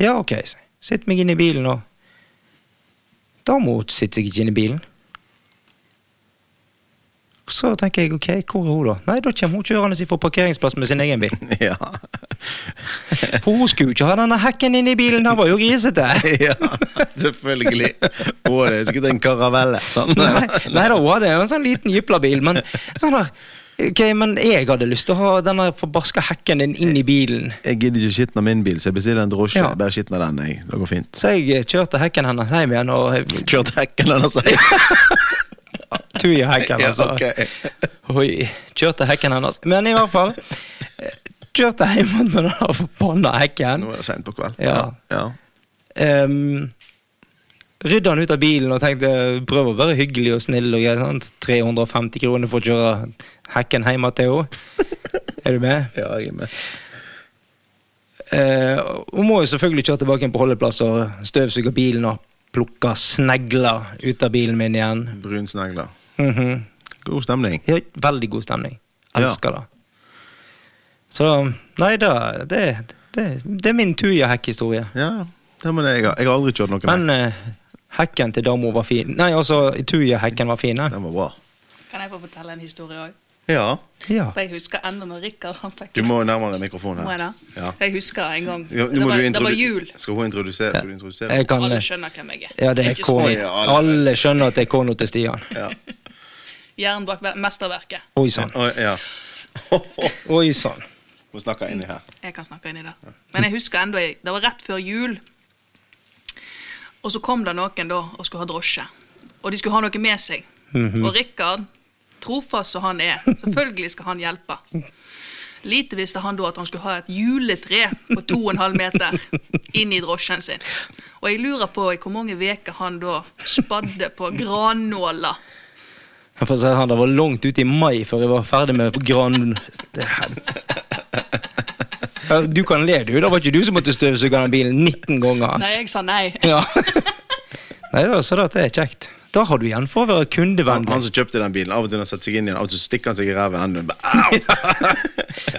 [SPEAKER 1] Ja, ok, sier jeg. Sitt meg inn i bilen, og Da må hun sitte seg ikke inn i bilen. Så tenker jeg ok, hvor er hun da? Nei, da kommer hun kjørende fra parkeringsplass med sin egen bil.
[SPEAKER 2] Ja. *laughs*
[SPEAKER 1] For hun skulle jo ikke ha denne hekken inn i bilen, den var jo grisete!
[SPEAKER 2] *laughs* ja, selvfølgelig. Å, det er sikkert en karavelle. Sånn.
[SPEAKER 1] Nei, nei da, hun hadde en sånn liten jyplabil, men sånn der, Ok, men jeg hadde lyst til å ha denne forbaska hekken din inn i bilen.
[SPEAKER 2] Jeg gidder ikke skitne min bil, så jeg bestiller en drosje.
[SPEAKER 1] Ja.
[SPEAKER 2] Jeg Bare skitne den, jeg. Det går fint.
[SPEAKER 1] Så jeg eh, kjørte hekken hennes hjem igjen, og eh,
[SPEAKER 2] Kjørt hekken hennes. altså.
[SPEAKER 1] tuja hekken,
[SPEAKER 2] Ja,
[SPEAKER 1] altså.
[SPEAKER 2] ok.
[SPEAKER 1] *laughs*
[SPEAKER 2] *laughs*
[SPEAKER 1] Oi, kjørte hekken hennes. Men i hvert fall, eh, kjørte hjem med den der forbanna hekken.
[SPEAKER 2] Nå er det sent på kveld.
[SPEAKER 1] Ja.
[SPEAKER 2] ja.
[SPEAKER 1] Um, Rydda han ut av bilen og tenkte prøv å være hyggelig og snill. og greier, sant? 350 kroner for å kjøre hekken hjem til henne. Er du med?
[SPEAKER 2] Ja, jeg er med.
[SPEAKER 1] Eh, hun må jo selvfølgelig kjøre tilbake inn på holdeplass og støvsuge bilen og plukke snegler ut av bilen min igjen.
[SPEAKER 2] Brunsnegler.
[SPEAKER 1] Mhm.
[SPEAKER 2] God stemning.
[SPEAKER 1] Ja, veldig god stemning. Elsker det. Så Nei, da, det, det, det er min Tuja-hekkhistorie.
[SPEAKER 2] Ja, det mener jeg. Jeg har aldri kjørt noe med.
[SPEAKER 1] Men eh, hekken til dama var fin. Nei, altså, Tuja-hekken var fin. ja.
[SPEAKER 2] Den var bra.
[SPEAKER 3] Kan jeg få fortelle en historie òg?
[SPEAKER 2] Ja.
[SPEAKER 1] Ja.
[SPEAKER 3] For jeg husker enda når Rikard han fikk
[SPEAKER 2] Du må nærmere mikrofonen
[SPEAKER 3] Må jeg
[SPEAKER 2] her.
[SPEAKER 3] det?
[SPEAKER 2] Ja.
[SPEAKER 3] Jeg husker en gang.
[SPEAKER 2] Ja, nå
[SPEAKER 3] det,
[SPEAKER 2] må du
[SPEAKER 3] var, det var
[SPEAKER 2] introdu-
[SPEAKER 3] jul.
[SPEAKER 2] Skal hun introdusere? Skal du introdusere?
[SPEAKER 1] Jeg kan
[SPEAKER 3] Alle
[SPEAKER 1] eh,
[SPEAKER 3] skjønner hvem jeg er.
[SPEAKER 1] Ja, det
[SPEAKER 3] Jeg
[SPEAKER 1] er
[SPEAKER 3] ikke
[SPEAKER 1] kona.
[SPEAKER 2] så- Ja, alle-
[SPEAKER 1] Alle skjønner at det er kona til Stian.
[SPEAKER 2] Ja.
[SPEAKER 3] så Hjernen bak ve- mesterverket.
[SPEAKER 1] Oi sann.
[SPEAKER 2] Å, ja. *laughs*
[SPEAKER 1] Oi sånn. sann.
[SPEAKER 2] Hun snakker inni her.
[SPEAKER 3] Jeg kan snakke inn i det. Men jeg husker enda, jeg- det var rett før jul. Og så kom det noen da og skulle ha drosje. Og de skulle ha noe med seg. Og Rikard, trofast som han er, selvfølgelig skal han hjelpe. Lite visste han da at han skulle ha et juletre på 2,5 meter inn i drosjen sin. Og jeg lurer på i hvor mange uker han da spadde på grannåla.
[SPEAKER 1] Jeg får si han, Det var langt ut i mai før jeg var ferdig med
[SPEAKER 2] *laughs*
[SPEAKER 1] gran... Det her. Ja, Du kan le, du. Det var ikke du som måtte støvsuge den bilen 19 ganger.
[SPEAKER 3] Nei, jeg sa nei.
[SPEAKER 1] Ja. *laughs* Nei, da, så det er kjekt. Da har du igjen for å være
[SPEAKER 2] Han, han
[SPEAKER 1] kundevennlig.
[SPEAKER 2] som kjøpte den bilen, av og til har han satt seg inn i den, av og til stikker han seg i ræva i enden. Bare,
[SPEAKER 1] *laughs*
[SPEAKER 2] Au!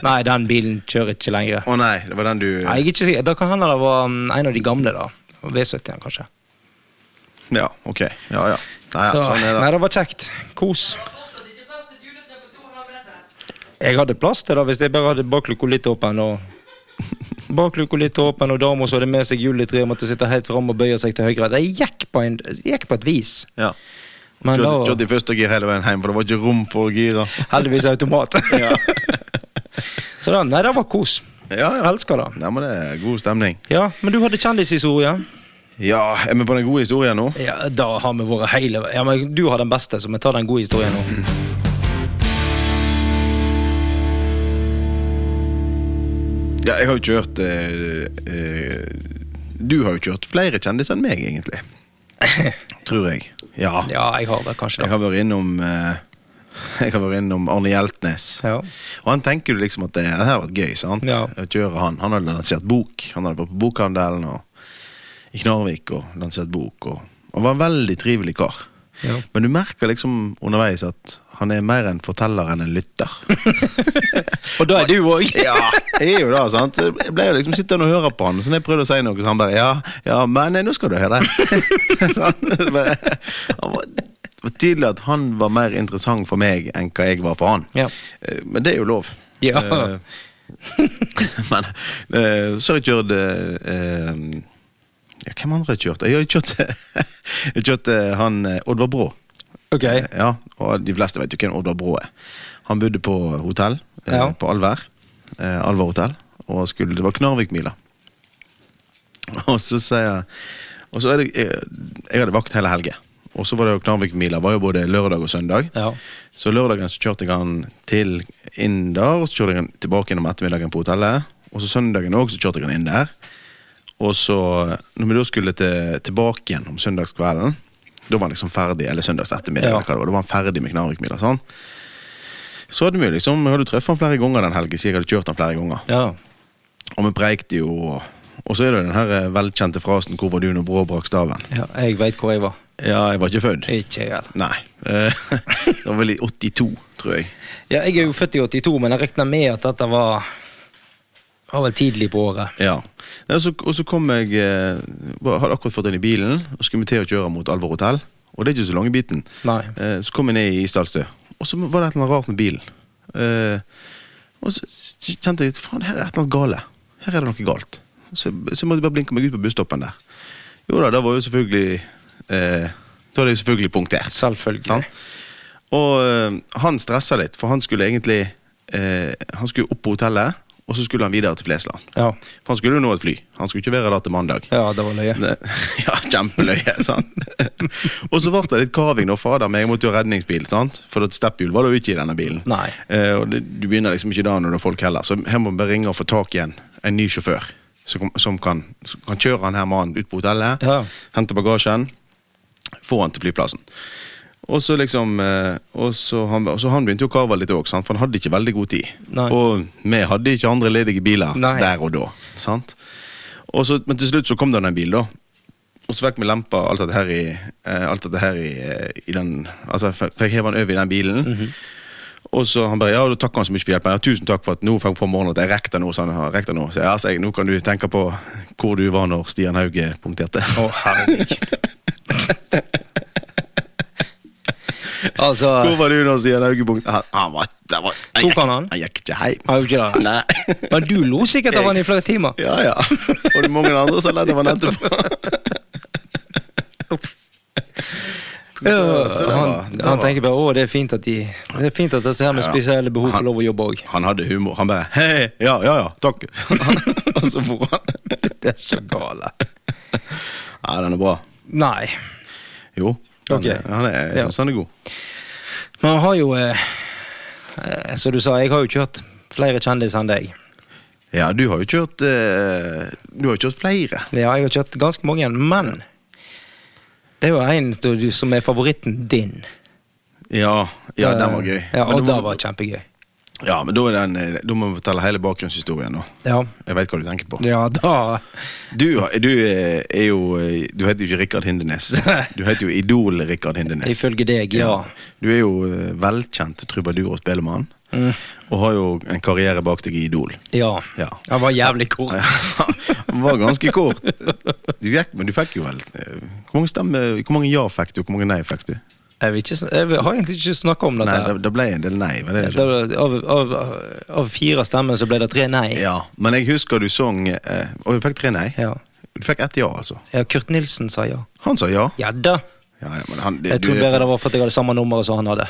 [SPEAKER 1] Nei, den bilen kjører ikke lenger.
[SPEAKER 2] Å nei, det var den du
[SPEAKER 1] Nei, jeg er ikke sikker. Da kan hende det var mm, en av de gamle, da. V70-en, kanskje.
[SPEAKER 2] Ja, ok. Ja, ja. Nei, ja,
[SPEAKER 1] Så,
[SPEAKER 2] sånn er
[SPEAKER 1] nei,
[SPEAKER 2] det.
[SPEAKER 1] det var kjekt. Kos. Jeg hadde plass til det hvis jeg bare hadde bakluka litt åpen. og *laughs* Bakluka litt åpen, og dama som hadde med seg juletre, måtte sitte helt fram og bøye seg til høyre. Det gikk på, en, gikk på et vis.
[SPEAKER 2] Ja.
[SPEAKER 1] Men da
[SPEAKER 2] Kjørte kjørte i første gir hele veien hjem, for det var ikke rom for å gire.
[SPEAKER 1] heldigvis *laughs* automat.
[SPEAKER 2] Ja.
[SPEAKER 1] Så da, nei, det var kos.
[SPEAKER 2] ja,
[SPEAKER 1] Jeg
[SPEAKER 2] ja.
[SPEAKER 1] elsker det.
[SPEAKER 2] Nei, men det er god stemning.
[SPEAKER 1] Ja, Men du hadde kjendishistorie?
[SPEAKER 2] Ja, er vi på den gode historien nå?
[SPEAKER 1] Ja, da har vi vært hele Ja, men du har den beste, så vi tar den gode historien *laughs* nå.
[SPEAKER 2] Ja, jeg har jo kjørt eh, eh, Du har jo kjørt flere kjendiser enn meg, *laughs* egentlig. Tror jeg. Ja.
[SPEAKER 1] Ja, jeg har det kanskje
[SPEAKER 2] Jeg
[SPEAKER 1] det.
[SPEAKER 2] har vært innom eh, Jeg har vært innom Arne Hjeltnes.
[SPEAKER 1] Ja.
[SPEAKER 2] Og han tenker jo liksom at det, det her har vært gøy, sant?
[SPEAKER 1] Ja.
[SPEAKER 2] Å kjøre han. Han hadde lansert bok. Han hadde vært på bokhandelen og i Knarvik og lansert bok. Og, han var en veldig trivelig kar.
[SPEAKER 1] Ja.
[SPEAKER 2] Men du merker liksom underveis at han er mer en forteller enn en lytter.
[SPEAKER 1] Og da er du òg. *laughs*
[SPEAKER 2] Ja, jeg er jo da, sant? Så Jeg ble jo liksom sittende og høre på han, så når jeg prøvde å si noe, så han bare Ja, ja, men nei, nå skal du høre. *laughs* Sånn. Så bare- han var, det var tydelig at han var mer interessant for meg enn hva jeg var for han.
[SPEAKER 1] Ja.
[SPEAKER 2] Eh, Men det er jo lov.
[SPEAKER 1] Ja.
[SPEAKER 2] Eh, *laughs* men eh, så har jeg kjørt eh, eh, ja, Hvem andre har jeg kjørt? Jeg har jo kjørt, *laughs* jeg har kjørt eh, han eh, Oddvar Brå.
[SPEAKER 1] Ok.
[SPEAKER 2] Eh, Ja, og de fleste vet jo hvem Oddvar Brå er. Han bodde på hotell eh,
[SPEAKER 1] Ja.
[SPEAKER 2] på Alver. Eh, Alver hotell. Og skulle, det var Knarvikmila. *laughs* Og så sier jeg Og så er det Jeg, jeg hadde vakt hele helgen. Og så var det jo Knarvikmila var jo både lørdag og søndag.
[SPEAKER 1] Ja.
[SPEAKER 2] Så lørdagen så kjørte jeg han til inn der, og så kjørte jeg han tilbake gjennom ettermiddagen på hotellet. Og så søndagen også så kjørte jeg han inn der. Og så, når vi da skulle til, tilbake igjen om søndagskvelden, da var han liksom ferdig, eller søndags ettermiddag,
[SPEAKER 1] Ja.
[SPEAKER 2] eller hva det var, da var han ferdig med Knarvikmila. Sånn. Så hadde vi jo liksom, jeg hadde jo truffet han flere ganger den helgen, så jeg hadde kjørt han flere ganger.
[SPEAKER 1] Ja.
[SPEAKER 2] Og vi preikte jo, og, og så er det jo den her eh, velkjente frasen 'Hvor var du når Brå brakk staven?'
[SPEAKER 1] ja. Jeg veit hvor jeg var.
[SPEAKER 2] Ja, jeg var ikke født.
[SPEAKER 1] Ikke jeg heller.
[SPEAKER 2] Nei. *laughs* Eh, det var vel i 82, tror jeg.
[SPEAKER 1] Ja, jeg er jo født i 82, men jeg regner med at dette var var vel tidlig på året.
[SPEAKER 2] Ja. Nei, og så- og så kom jeg eh, bare- Hadde akkurat fått den i bilen, og skulle vi til å kjøre mot Alvor hotell. Og det er ikke så lange biten.
[SPEAKER 1] Nei.
[SPEAKER 2] Eh, Så kom jeg ned i Isdalstø, og så var det et eller annet rart med bilen. Eh, Og så kjente jeg faen, her er et eller annet gale. Her er det noe galt. Så, så måtte jeg bare blinke meg ut på busstoppen der. Jo da, da var jo selvfølgelig eh, Da var det jo selvfølgelig punktert.
[SPEAKER 1] Selvfølgelig.
[SPEAKER 2] Sant? Og eh, han stressa litt, for han skulle egentlig eh, Han skulle opp på hotellet, og så skulle han videre til Flesland.
[SPEAKER 1] Ja.
[SPEAKER 2] For han skulle jo nå et fly. Han skulle ikke være der til mandag.
[SPEAKER 1] ja, det var løye.
[SPEAKER 2] Ne- *laughs* Ja, kjempeløye, sant. *laughs* og så ble det litt kaving, da, fader, men jeg måtte jo ha redningsbil, sant. For at stepphjul var det jo ikke i denne bilen.
[SPEAKER 1] Nei.
[SPEAKER 2] Eh, og det, du begynner liksom ikke da når det er folk heller. Så her må vi bare ringe og få tak i en, en ny sjåfør. Som, som, kan, som kan kjøre han her mannen ut på hotellet,
[SPEAKER 1] Ja.
[SPEAKER 2] hente bagasjen, få han til flyplassen. Og så liksom eh, Og så han, og så han begynte jo å kave litt òg, for han hadde ikke veldig god tid.
[SPEAKER 1] Nei.
[SPEAKER 2] Og vi hadde ikke andre ledige biler
[SPEAKER 1] Nei.
[SPEAKER 2] der og da. sant? Og så, men til slutt så kom det en bil, da. Og så fikk vi lempa alt dette her i, eh, alt dette her i, eh, i den Altså fikk fikk hevet han over i den bilen.
[SPEAKER 1] Mhm.
[SPEAKER 2] Og så han bare, ja, da takker han så mye for hjelpen. Ja, tusen takk for at nå fikk for morgenen at jeg rekker det nå. Så han har rekker det nå. Så jeg, altså, jeg, nå kan du tenke på hvor du var når Stian Hauge punkterte.
[SPEAKER 1] Å, herregud. altså
[SPEAKER 2] *laughs* Hvor var du når Stian Hauge punkterte? Han, han var, det var han
[SPEAKER 1] Tok
[SPEAKER 2] gikk-
[SPEAKER 1] han han?
[SPEAKER 2] Han gikk ikke hjem.
[SPEAKER 1] Har jo ikke det.
[SPEAKER 2] *laughs* Nei.
[SPEAKER 1] Men du lo sikkert av han i flere timer.
[SPEAKER 2] Ja, ja. Og det er mange andre som ledd av han etterpå.
[SPEAKER 1] Ja,
[SPEAKER 2] så det var-
[SPEAKER 1] han,
[SPEAKER 2] det
[SPEAKER 1] han
[SPEAKER 2] var-
[SPEAKER 1] tenker bare å, det er fint at de Det er fint at disse her med
[SPEAKER 2] Ja.
[SPEAKER 1] spesielle behov får
[SPEAKER 2] Han-
[SPEAKER 1] lov å jobbe òg.
[SPEAKER 2] Han hadde humor. Han bare Hei, ja, ja, ja, takk. *laughs* og så for han.
[SPEAKER 1] *laughs* Det er så gale.
[SPEAKER 2] Nei, den er bra.
[SPEAKER 1] Nei.
[SPEAKER 2] Jo. Han,
[SPEAKER 1] Ok.
[SPEAKER 2] er- han er, jeg
[SPEAKER 1] Ja.
[SPEAKER 2] syns han er god.
[SPEAKER 1] Men han har jo eh, eh, Som du sa, jeg har jo kjørt flere kjendiser enn deg.
[SPEAKER 2] Ja, du har jo kjørt eh, Du har jo kjørt flere.
[SPEAKER 1] Ja, jeg har kjørt ganske mange, men det er jo en som du- som er favoritten din.
[SPEAKER 2] Ja, ja den var gøy.
[SPEAKER 1] Eh, Ja,
[SPEAKER 2] Men
[SPEAKER 1] og
[SPEAKER 2] da
[SPEAKER 1] det
[SPEAKER 2] må-
[SPEAKER 1] var kjempegøy.
[SPEAKER 2] ja, men da, er den, eh, da må vi fortelle hele bakgrunnshistorien, da.
[SPEAKER 1] Ja,
[SPEAKER 2] Jeg veit hva du tenker på.
[SPEAKER 1] ja da
[SPEAKER 2] Du, har- du eh, er jo eh, Du heter jo ikke Rikard
[SPEAKER 1] *laughs*
[SPEAKER 2] Hindenes. Du heter jo Idol-Rikard Hindenes.
[SPEAKER 1] Ifølge deg, ja.
[SPEAKER 2] Du er jo eh, velkjent trubadur og spelemann, og har jo en karriere bak deg i Idol.
[SPEAKER 1] Mm. Ja.
[SPEAKER 2] Ja.
[SPEAKER 1] Han var jævlig kort.
[SPEAKER 2] *laughs* Den var ganske kort. Du gikk, men du fikk jo vel eh, Hvor mange stemmer, hvor mange ja fikk du, og hvor mange nei fikk du?
[SPEAKER 1] Jeg, vil ikke, sn- jeg har egentlig ikke snakka om dette.
[SPEAKER 2] Nei,
[SPEAKER 1] her.
[SPEAKER 2] det, det ble en del nei. Var det ikke?
[SPEAKER 1] Da- Av, av, av fire stemmer så ble det tre nei.
[SPEAKER 2] Ja, Men jeg husker du sang eh, Og du fikk tre nei.
[SPEAKER 1] Ja.
[SPEAKER 2] Du fikk ett ja, altså.
[SPEAKER 1] Ja, Kurt Nilsen sa ja.
[SPEAKER 2] Han sa ja.
[SPEAKER 1] Ja da.
[SPEAKER 2] ja, ja men han,
[SPEAKER 1] Jeg tror bare det var for at jeg hadde samme nummeret som han hadde.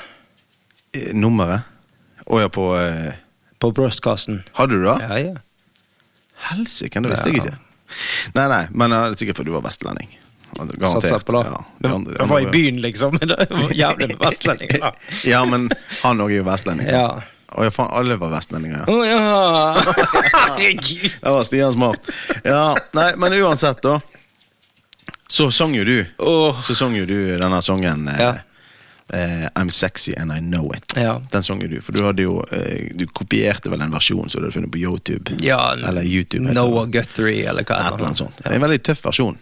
[SPEAKER 2] Eh, Nummeret? Å ja, på eh,
[SPEAKER 1] På brystkassen.
[SPEAKER 2] Hadde du det?
[SPEAKER 1] Ja, ja.
[SPEAKER 2] Helsike, det visste jeg
[SPEAKER 1] Ja.
[SPEAKER 2] ikke. Nei, nei, men eh, det er sikkert fordi du var vestlending. Altså,
[SPEAKER 1] Satser
[SPEAKER 2] Garantert.
[SPEAKER 1] på det.
[SPEAKER 2] Ja, de
[SPEAKER 1] Jeg
[SPEAKER 2] andre- de
[SPEAKER 1] jeg var i
[SPEAKER 2] andre-
[SPEAKER 1] byen, liksom. *laughs* men det liksom. var Jævlig vestlending, da.
[SPEAKER 2] *laughs* ja, men han òg er jo vestlending. sant?
[SPEAKER 1] Ja.
[SPEAKER 2] Å ja, faen, alle var vestlendinger, ja.
[SPEAKER 1] Å ja! Herregud.
[SPEAKER 2] Det var Stian smart. Ja, nei, men uansett, da. Så sang jo du
[SPEAKER 1] Åh.
[SPEAKER 2] Så sang jo du denne sangen eh,
[SPEAKER 1] Ja.
[SPEAKER 2] eh, I'm sexy and I know it.
[SPEAKER 1] Ja.
[SPEAKER 2] Den sang jo du, for du hadde jo eh, Du kopierte vel en versjon som du hadde funnet på YouTube?
[SPEAKER 1] Ja,
[SPEAKER 2] eller YouTube. heter
[SPEAKER 1] Noah
[SPEAKER 2] det.
[SPEAKER 1] Guthrie, eller hva
[SPEAKER 2] Et
[SPEAKER 1] det
[SPEAKER 2] eller annet
[SPEAKER 1] var.
[SPEAKER 2] sånt. En veldig tøff versjon.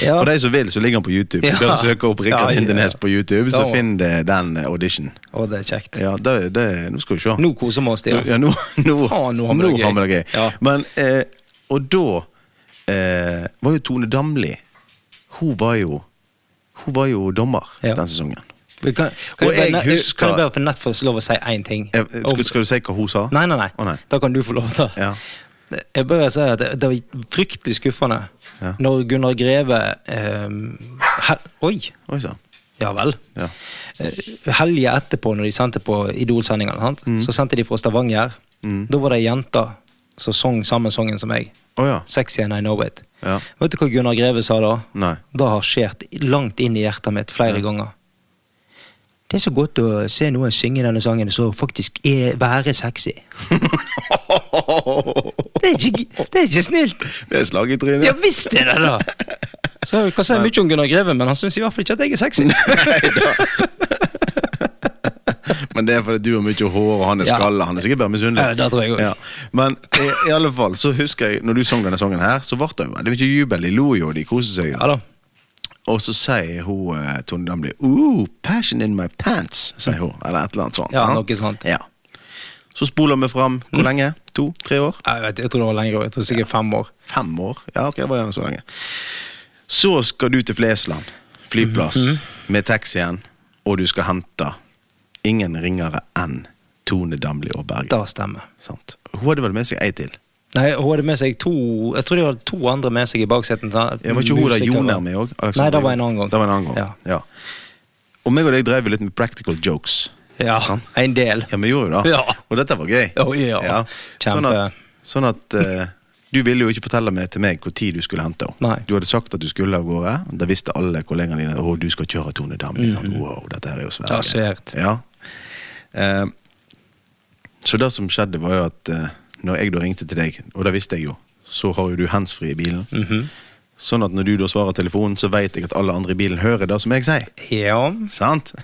[SPEAKER 1] Ja.
[SPEAKER 2] For de som vil, så ligger han på YouTube.
[SPEAKER 1] Ja.
[SPEAKER 2] Du kan søke opp Rikard
[SPEAKER 1] Ja, ja.
[SPEAKER 2] Hindenes på YouTube, så
[SPEAKER 1] Ja.
[SPEAKER 2] finn eh, den eh, audition.
[SPEAKER 1] Å, det er kjekt.
[SPEAKER 2] Ja, det, det, nå skal vi se.
[SPEAKER 1] Nå koser vi oss, Stian.
[SPEAKER 2] Ja, nå, nå,
[SPEAKER 1] Faen, nå har vi det gøy.
[SPEAKER 2] vi det gøy.
[SPEAKER 1] Ja.
[SPEAKER 2] Men, eh, og da eh, var jo Tone Damli Hun var jo Hun var jo dommer
[SPEAKER 1] Ja.
[SPEAKER 2] den sesongen.
[SPEAKER 1] Vi Kan, kan,
[SPEAKER 2] Og
[SPEAKER 1] jeg
[SPEAKER 2] jeg
[SPEAKER 1] bare,
[SPEAKER 2] husker-
[SPEAKER 1] kan jeg bare få nett få lov å si én ting?
[SPEAKER 2] Eh, skal,
[SPEAKER 1] Om-
[SPEAKER 2] skal du si hva hun sa?
[SPEAKER 1] Nei, nei, nei.
[SPEAKER 2] Å, nei.
[SPEAKER 1] Da kan du få lov til å
[SPEAKER 2] Ja.
[SPEAKER 1] Jeg bare sier at det, det var fryktelig skuffende
[SPEAKER 2] Ja.
[SPEAKER 1] når Gunnar Greve ehm, he, Oi!
[SPEAKER 2] Oi sann.
[SPEAKER 1] Ja vel.
[SPEAKER 2] Ja.
[SPEAKER 1] Eh, Helga etterpå, når de sendte på Idol-sendingene, sant?
[SPEAKER 2] Mm.
[SPEAKER 1] så sendte de fra Stavanger. Da var det ei jente som sang samme sangen som meg.
[SPEAKER 2] Å ja.
[SPEAKER 1] 'Sexy and I Know It'.
[SPEAKER 2] Ja.
[SPEAKER 1] Vet du hva Gunnar Greve sa da?
[SPEAKER 2] Nei. *laughs*
[SPEAKER 1] Det har skjert langt inn i hjertet mitt flere ganger. Det er så godt å se noen
[SPEAKER 2] *laughs*
[SPEAKER 1] synge denne sangen og så faktisk er, være sexy. Det er ikke, det er ikke snilt!
[SPEAKER 2] Det er slag i
[SPEAKER 1] Ja
[SPEAKER 2] trynet.
[SPEAKER 1] visst er det det! Så jeg kan si mye om Gunnar Greve, men han syns i hvert fall ikke at jeg er sexy.
[SPEAKER 2] Men det er fordi du har mye hår, og han er
[SPEAKER 1] Ja.
[SPEAKER 2] skalla. Han er sikkert bare misunnelig.
[SPEAKER 1] Ja, det tror jeg også.
[SPEAKER 2] Ja. Men i, i alle fall, så husker jeg, når du sang denne sangen her, så ble det jo veldig mye jubel. De lo jo, og de koste seg.
[SPEAKER 1] Ja da.
[SPEAKER 2] Og så sier hun eh, Tone Damli Ooh, passion in my pants, sier hun. Eller et eller annet sånt.
[SPEAKER 1] Ja,
[SPEAKER 2] sant?
[SPEAKER 1] noe sånt.
[SPEAKER 2] Ja. Så spoler vi fram hvor lenge? To? Tre år?
[SPEAKER 1] Jeg, vet, jeg tror det var lenger. Jeg tror sikkert fem år.
[SPEAKER 2] Fem år? Ja, ok, det var gjerne så lenge. Så skal du til Flesland flyplass
[SPEAKER 1] Mhm.
[SPEAKER 2] med taxien, og du skal hente ingen ringere enn Tone Damli og Berge.
[SPEAKER 1] Det stemmer.
[SPEAKER 2] Sant? Hun hadde vel med seg ei til.
[SPEAKER 1] Nei, hun hadde med seg to Jeg tror de hadde to andre med seg i baksetet. sånn-
[SPEAKER 2] Jeg var ikke hun der
[SPEAKER 1] musikere.
[SPEAKER 2] Joner med òg?
[SPEAKER 1] Nei, det var en annen gang.
[SPEAKER 2] Det var en annen gang.
[SPEAKER 1] Ja.
[SPEAKER 2] Ja. Og meg og deg drev jo litt med practical jokes.
[SPEAKER 1] Ja,
[SPEAKER 2] Sant?
[SPEAKER 1] en del.
[SPEAKER 2] Ja, vi gjorde jo det.
[SPEAKER 1] Ja.
[SPEAKER 2] Og dette var gøy.
[SPEAKER 1] Å, ja. Kjempe.
[SPEAKER 2] Sånn at, sånn at eh, du ville jo ikke fortelle meg til meg hvor tid du skulle hente henne.
[SPEAKER 1] Nei.
[SPEAKER 2] Du hadde sagt at du skulle av gårde. Da visste alle kollegene dine at du skal kjøre Tone Dam. Ikke sant? Wow, dette her er jo svært.
[SPEAKER 1] Mm. Ja,
[SPEAKER 2] gøy.
[SPEAKER 1] svært.
[SPEAKER 2] Ja. Eh, så det som skjedde, var jo at eh, når jeg da ringte til deg, og det visste jeg jo, så har jo du handsfree i bilen.
[SPEAKER 1] Mhm.
[SPEAKER 2] Sånn at når du da svarer telefonen, så vet jeg at alle andre i bilen hører det som jeg sier.
[SPEAKER 1] Ja.
[SPEAKER 2] Sant?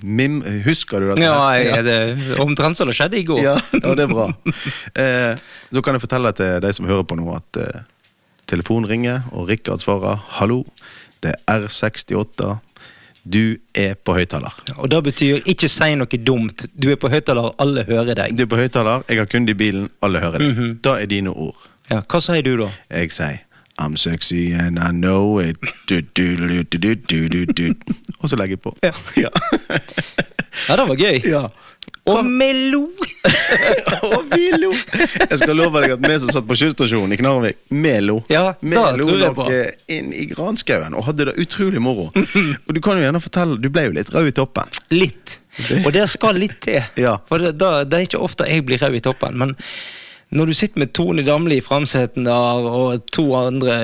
[SPEAKER 2] Mim, husker du dette?
[SPEAKER 1] Mhm. Ja,
[SPEAKER 2] her?
[SPEAKER 1] er det omtrent som det skjedde i går.
[SPEAKER 2] Ja, ja, det er bra. Eh, så kan jeg fortelle til de som hører på nå, at eh, telefonen ringer, og Rikard svarer 'hallo'. Det er R68. Du er på høyttaler.
[SPEAKER 1] Og det betyr ikke si noe dumt. Du er på høyttaler, alle hører deg.
[SPEAKER 2] Du er på høyttaler, jeg har kunde i bilen, alle hører det.
[SPEAKER 1] Mhm.
[SPEAKER 2] Da er dine ord.
[SPEAKER 1] Ja, hva sier du da?
[SPEAKER 2] Jeg sier 'I'm sexy and I know it'. Du, du, du, du, du, du, du, du. Og så legger jeg på.
[SPEAKER 1] Ja.
[SPEAKER 2] ja.
[SPEAKER 1] Ja, det var gøy.
[SPEAKER 2] ja.
[SPEAKER 1] Og melo!
[SPEAKER 2] Og vi lo. Jeg skal love deg at vi som satt på kyststasjonen i Knarvik, vi lo.
[SPEAKER 1] Ja,
[SPEAKER 2] vi
[SPEAKER 1] da
[SPEAKER 2] lo
[SPEAKER 1] tror jeg på.
[SPEAKER 2] dere inn i granskauen og hadde det utrolig moro. Og du kan jo gjerne fortelle, du ble jo litt rød i toppen.
[SPEAKER 1] Litt. Og det skal litt til.
[SPEAKER 2] *laughs* Ja.
[SPEAKER 1] For det, da, det er ikke ofte jeg blir rød i toppen. Men når du sitter med Tone Damli i framseten der, og to andre,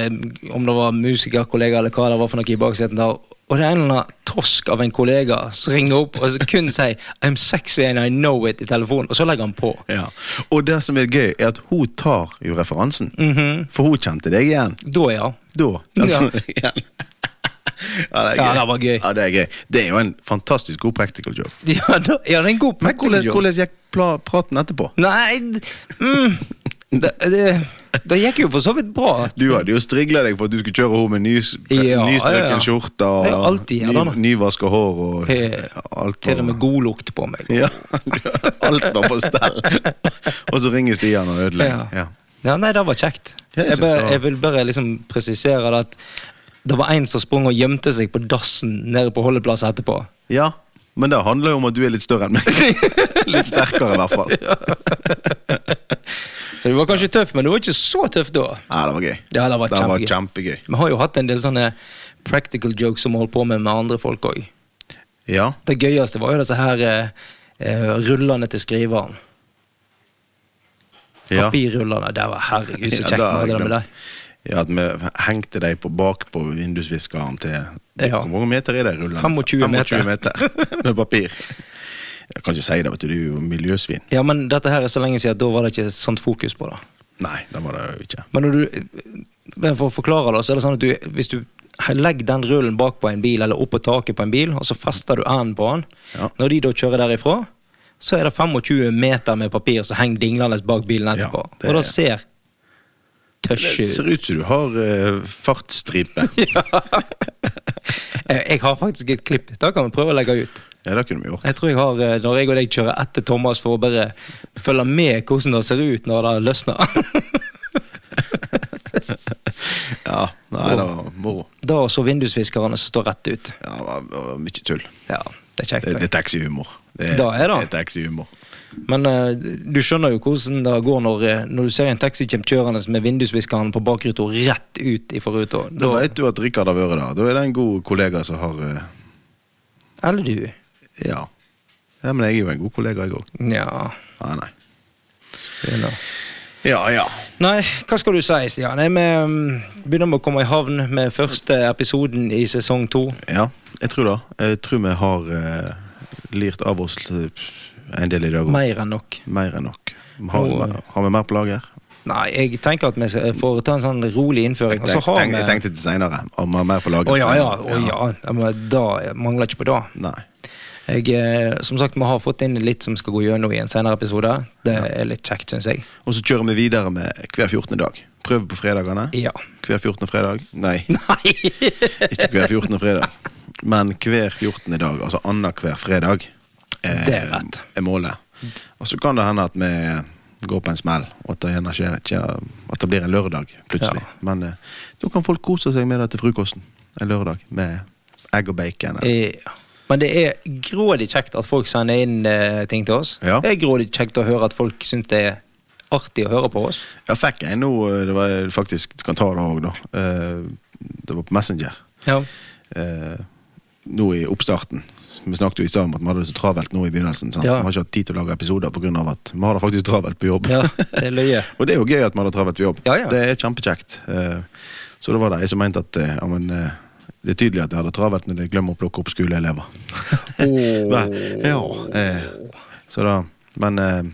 [SPEAKER 1] om det var musikerkollegaer eller hva det var for noe i bakseten der, og det er en eller annen tosk av en kollega som ringer opp og kun sier 'I'm sexy and I know it' i telefonen, og så legger han på.
[SPEAKER 2] Ja. Og det som er gøy, er at hun tar jo referansen. For hun kjente deg igjen.
[SPEAKER 1] Da, ja. *laughs*
[SPEAKER 2] Da kjente *laughs* hun deg igjen. Ja, det er
[SPEAKER 1] Ja,
[SPEAKER 2] gøy.
[SPEAKER 1] det var gøy.
[SPEAKER 2] Ja, det er gøy. Det er jo en fantastisk god practical joke.
[SPEAKER 1] Ja, da, ja det er en god
[SPEAKER 2] Men hvordan,
[SPEAKER 1] practical joke.
[SPEAKER 2] hvordan gikk pla- praten etterpå?
[SPEAKER 1] Nei d- mm, det, det, det gikk jo for så vidt bra.
[SPEAKER 2] Du hadde jo strigla deg for at du skulle kjøre henne med ny,
[SPEAKER 1] Ja,
[SPEAKER 2] nystrøken
[SPEAKER 1] ja, ja.
[SPEAKER 2] skjorte
[SPEAKER 1] Det er jo
[SPEAKER 2] og
[SPEAKER 1] alltid gjerne, da.
[SPEAKER 2] nyvaska hår og
[SPEAKER 1] Eh,
[SPEAKER 2] alt.
[SPEAKER 1] Til og
[SPEAKER 2] var- *laughs*
[SPEAKER 1] med godlukt på meg.
[SPEAKER 2] ja, alt var på stell. og så ringer Stian og ødelegger.
[SPEAKER 1] Ja.
[SPEAKER 2] Ja.
[SPEAKER 1] Ja, nei, det var kjekt.
[SPEAKER 2] Ja, jeg
[SPEAKER 1] Jeg,
[SPEAKER 2] synes
[SPEAKER 1] bare,
[SPEAKER 2] det var-
[SPEAKER 1] jeg vil bare liksom presisere det at det var en som sprang og gjemte seg på dassen nede på holdeplassen etterpå.
[SPEAKER 2] ja, men det handler jo om at du er litt større enn meg. *laughs* litt sterkere, i hvert fall.
[SPEAKER 1] Så du var kanskje tøff, men du var ikke så tøff da.
[SPEAKER 2] Ja, det var
[SPEAKER 1] Ja,
[SPEAKER 2] gøy.
[SPEAKER 1] det var
[SPEAKER 2] det var
[SPEAKER 1] kjempegøy.
[SPEAKER 2] kjempegøy.
[SPEAKER 1] Vi har jo hatt en del sånne practical jokes som vi holdt på med med andre folk òg.
[SPEAKER 2] Ja.
[SPEAKER 1] Det gøyeste var jo disse her eh, eh, rullene til skriveren.
[SPEAKER 2] ja.
[SPEAKER 1] Papirrullene. Det var herregud så
[SPEAKER 2] Ja,
[SPEAKER 1] kjekt
[SPEAKER 2] da
[SPEAKER 1] vi hadde det med
[SPEAKER 2] har jeg glemt.
[SPEAKER 1] deg.
[SPEAKER 2] Ja, at vi hengte deg på bak på vindusviskeren til
[SPEAKER 1] Ja.
[SPEAKER 2] Hvor mange meter er det? rullende?
[SPEAKER 1] 25 meter.
[SPEAKER 2] 25
[SPEAKER 1] *laughs*
[SPEAKER 2] meter. Med papir. Jeg kan ikke si det, vet du. Du er jo miljøsvin.
[SPEAKER 1] Ja, men dette her er så lenge siden at da var det ikke sånt fokus på det.
[SPEAKER 2] Nei, det var det jo ikke.
[SPEAKER 1] Men når du, men for å forklare det, så er det sånn at du, hvis du legger den rullen bak på en bil, eller opp på taket på en bil, og så fester du enden på den,
[SPEAKER 2] Ja.
[SPEAKER 1] når de da kjører derifra, så er det 25 meter med papir som henger dinglende bak bilen etterpå.
[SPEAKER 2] Ja, det-
[SPEAKER 1] Og det ser tøsj
[SPEAKER 2] Det
[SPEAKER 1] ut.
[SPEAKER 2] ser ut som du har eh, fartsstripe.
[SPEAKER 1] *laughs* Eh, *laughs* Jeg har faktisk et klipp. Da kan vi prøve å legge ut.
[SPEAKER 2] Ja, det kunne vi gjort.
[SPEAKER 1] Jeg tror jeg har, eh, når jeg og deg kjører etter Thomas for å bare følge med hvordan det ser ut når det løsner. *laughs*
[SPEAKER 2] Ja, nei, det var moro.
[SPEAKER 1] Da og så vindusviskerne som står rett ut.
[SPEAKER 2] Ja, det var, det var mye tull.
[SPEAKER 1] Ja, det er kjekt.
[SPEAKER 2] Det,
[SPEAKER 1] det.
[SPEAKER 2] det er taxihumor. Det
[SPEAKER 1] Da er det.
[SPEAKER 2] er taxihumor.
[SPEAKER 1] Men eh, du skjønner jo hvordan det går når, eh, når du ser en taxi komme kjørende med vindusviskeren på bakruta rett ut i forruta.
[SPEAKER 2] Da
[SPEAKER 1] Da-
[SPEAKER 2] vet du at Rikard har vært der. Da er det en god kollega som har eh,
[SPEAKER 1] Eller du.
[SPEAKER 2] Ja. ja. Men jeg er jo en god kollega, jeg òg.
[SPEAKER 1] Nja
[SPEAKER 2] Nei, nei.
[SPEAKER 1] det er noe.
[SPEAKER 2] Ja, ja.
[SPEAKER 1] Nei, hva skal du si, Stian? Jeg med, mm, begynner med å komme i havn med første episoden i sesong to.
[SPEAKER 2] Ja, jeg tror det. Jeg tror vi har eh, lirt av oss eh, en del i dag òg.
[SPEAKER 1] Mer enn nok.
[SPEAKER 2] Mer enn nok. Har,
[SPEAKER 1] Nå-
[SPEAKER 2] har vi mer på lager?
[SPEAKER 1] Nei, jeg tenker at vi skal- får ta en sånn rolig innføring. Og så har
[SPEAKER 2] Tenk- tenk- Jeg
[SPEAKER 1] vi
[SPEAKER 2] tenkte til seinere. Har vi mer på lager?
[SPEAKER 1] Å ja, ja.
[SPEAKER 2] senere?
[SPEAKER 1] Å ja. ja men da jeg mangler ikke på det.
[SPEAKER 2] Nei.
[SPEAKER 1] Jeg, eh, som sagt, vi har fått inn litt som skal gå gjennom i en senere episode. Det er litt kjekt, syns jeg.
[SPEAKER 2] Og så kjører vi videre med hver 14. dag. Prøv på fredagene.
[SPEAKER 1] Ja.
[SPEAKER 2] Hver 14. fredag. Nei,
[SPEAKER 1] *laughs* Nei!
[SPEAKER 2] ikke hver 14. fredag. Men hver 14. dag, altså annenhver fredag, eh,
[SPEAKER 1] Det er rett.
[SPEAKER 2] er målet. Og så kan det hende at vi går på en smell, og at det, gjerne skjer, skjer, at det blir en lørdag plutselig.
[SPEAKER 1] Ja.
[SPEAKER 2] Men eh, da kan folk kose seg med det til frokosten en lørdag, med egg og bacon. eller-
[SPEAKER 1] Ja. Eh, Men det er grådig kjekt at folk sender inn eh, ting til oss.
[SPEAKER 2] Ja.
[SPEAKER 1] Det er grådig kjekt å høre at folk syns det er artig å høre på oss.
[SPEAKER 2] Jeg fikk en nå, eh, det var faktisk, du kan ta det òg, da. Eh, Det var på Messenger.
[SPEAKER 1] Ja.
[SPEAKER 2] eh, nå i oppstarten. Vi snakket jo i stad om at vi hadde det så travelt nå i begynnelsen. Sant?
[SPEAKER 1] Ja.
[SPEAKER 2] Vi har ikke hatt tid til å lage episoder pga. at vi har det faktisk travelt på jobb.
[SPEAKER 1] det er løye.
[SPEAKER 2] og det er jo gøy at vi har det travelt på jobb.
[SPEAKER 1] Ja, ja.
[SPEAKER 2] Det er kjempekjekt. Eh, så da var det ei som mente at eh, ja, men, eh, det er tydelig at jeg har det travelt når jeg glemmer å plukke opp skoleelever.
[SPEAKER 1] *laughs* Åh.
[SPEAKER 2] ja, eh, så da Men eh,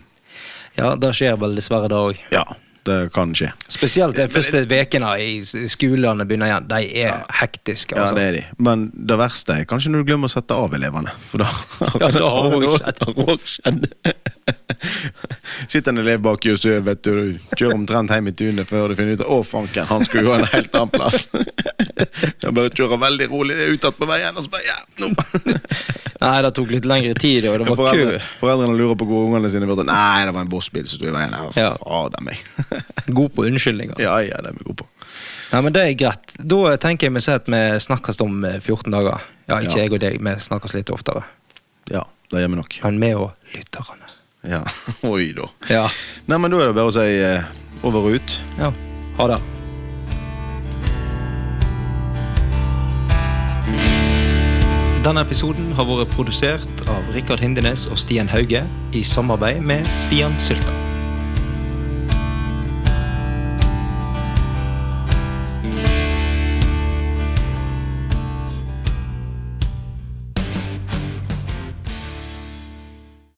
[SPEAKER 1] Ja, det skjer vel dessverre det òg.
[SPEAKER 2] ja, det kan skje.
[SPEAKER 1] Spesielt de første ukene i s- skolene begynner igjen. De er hektiske.
[SPEAKER 2] Ja,
[SPEAKER 1] altså.
[SPEAKER 2] det er de. Men det verste er kanskje når du glemmer å sette av elevene. For da
[SPEAKER 1] *laughs* Ja, det
[SPEAKER 2] *laughs*
[SPEAKER 1] har også skjedd.
[SPEAKER 2] Det har også skjedd. *laughs* Sitter en elev bak i og sover, vet du. Kjører omtrent hjem i tunet før du finner ut Å, fanken, han skulle jo ha en helt annen plass. *laughs* Han bare kjører veldig rolig det er utad på veien, og så bare Ja, nå
[SPEAKER 1] Nei, det tok litt lengre tid, og det var
[SPEAKER 2] *laughs* Foreldre,
[SPEAKER 1] kø.
[SPEAKER 2] Foreldrene lurer på hvor ungene sine burde Nei, det var en bossbil som sto i veien her. Og så,
[SPEAKER 1] Ja.
[SPEAKER 2] Å, det er meg. *laughs*
[SPEAKER 1] God på unnskyldninger.
[SPEAKER 2] Ja, ja, det er vi gode på.
[SPEAKER 1] Nei, men Det er greit. Da tenker jeg vi sier at vi snakkes om eh, 14 dager. Ja, ikke
[SPEAKER 2] Ja.
[SPEAKER 1] jeg og deg, vi snakkes litt oftere.
[SPEAKER 2] Ja, det gjør vi nok.
[SPEAKER 1] Men vi og lytterne.
[SPEAKER 2] Ja. *laughs* Oi, da.
[SPEAKER 1] Ja.
[SPEAKER 2] Nei, men da er det bare å si eh, over og ut.
[SPEAKER 1] ja. Ha det. Denne episoden har vært produsert av Rikard Hindenes og Stian Hauge i samarbeid med Stian Sylta.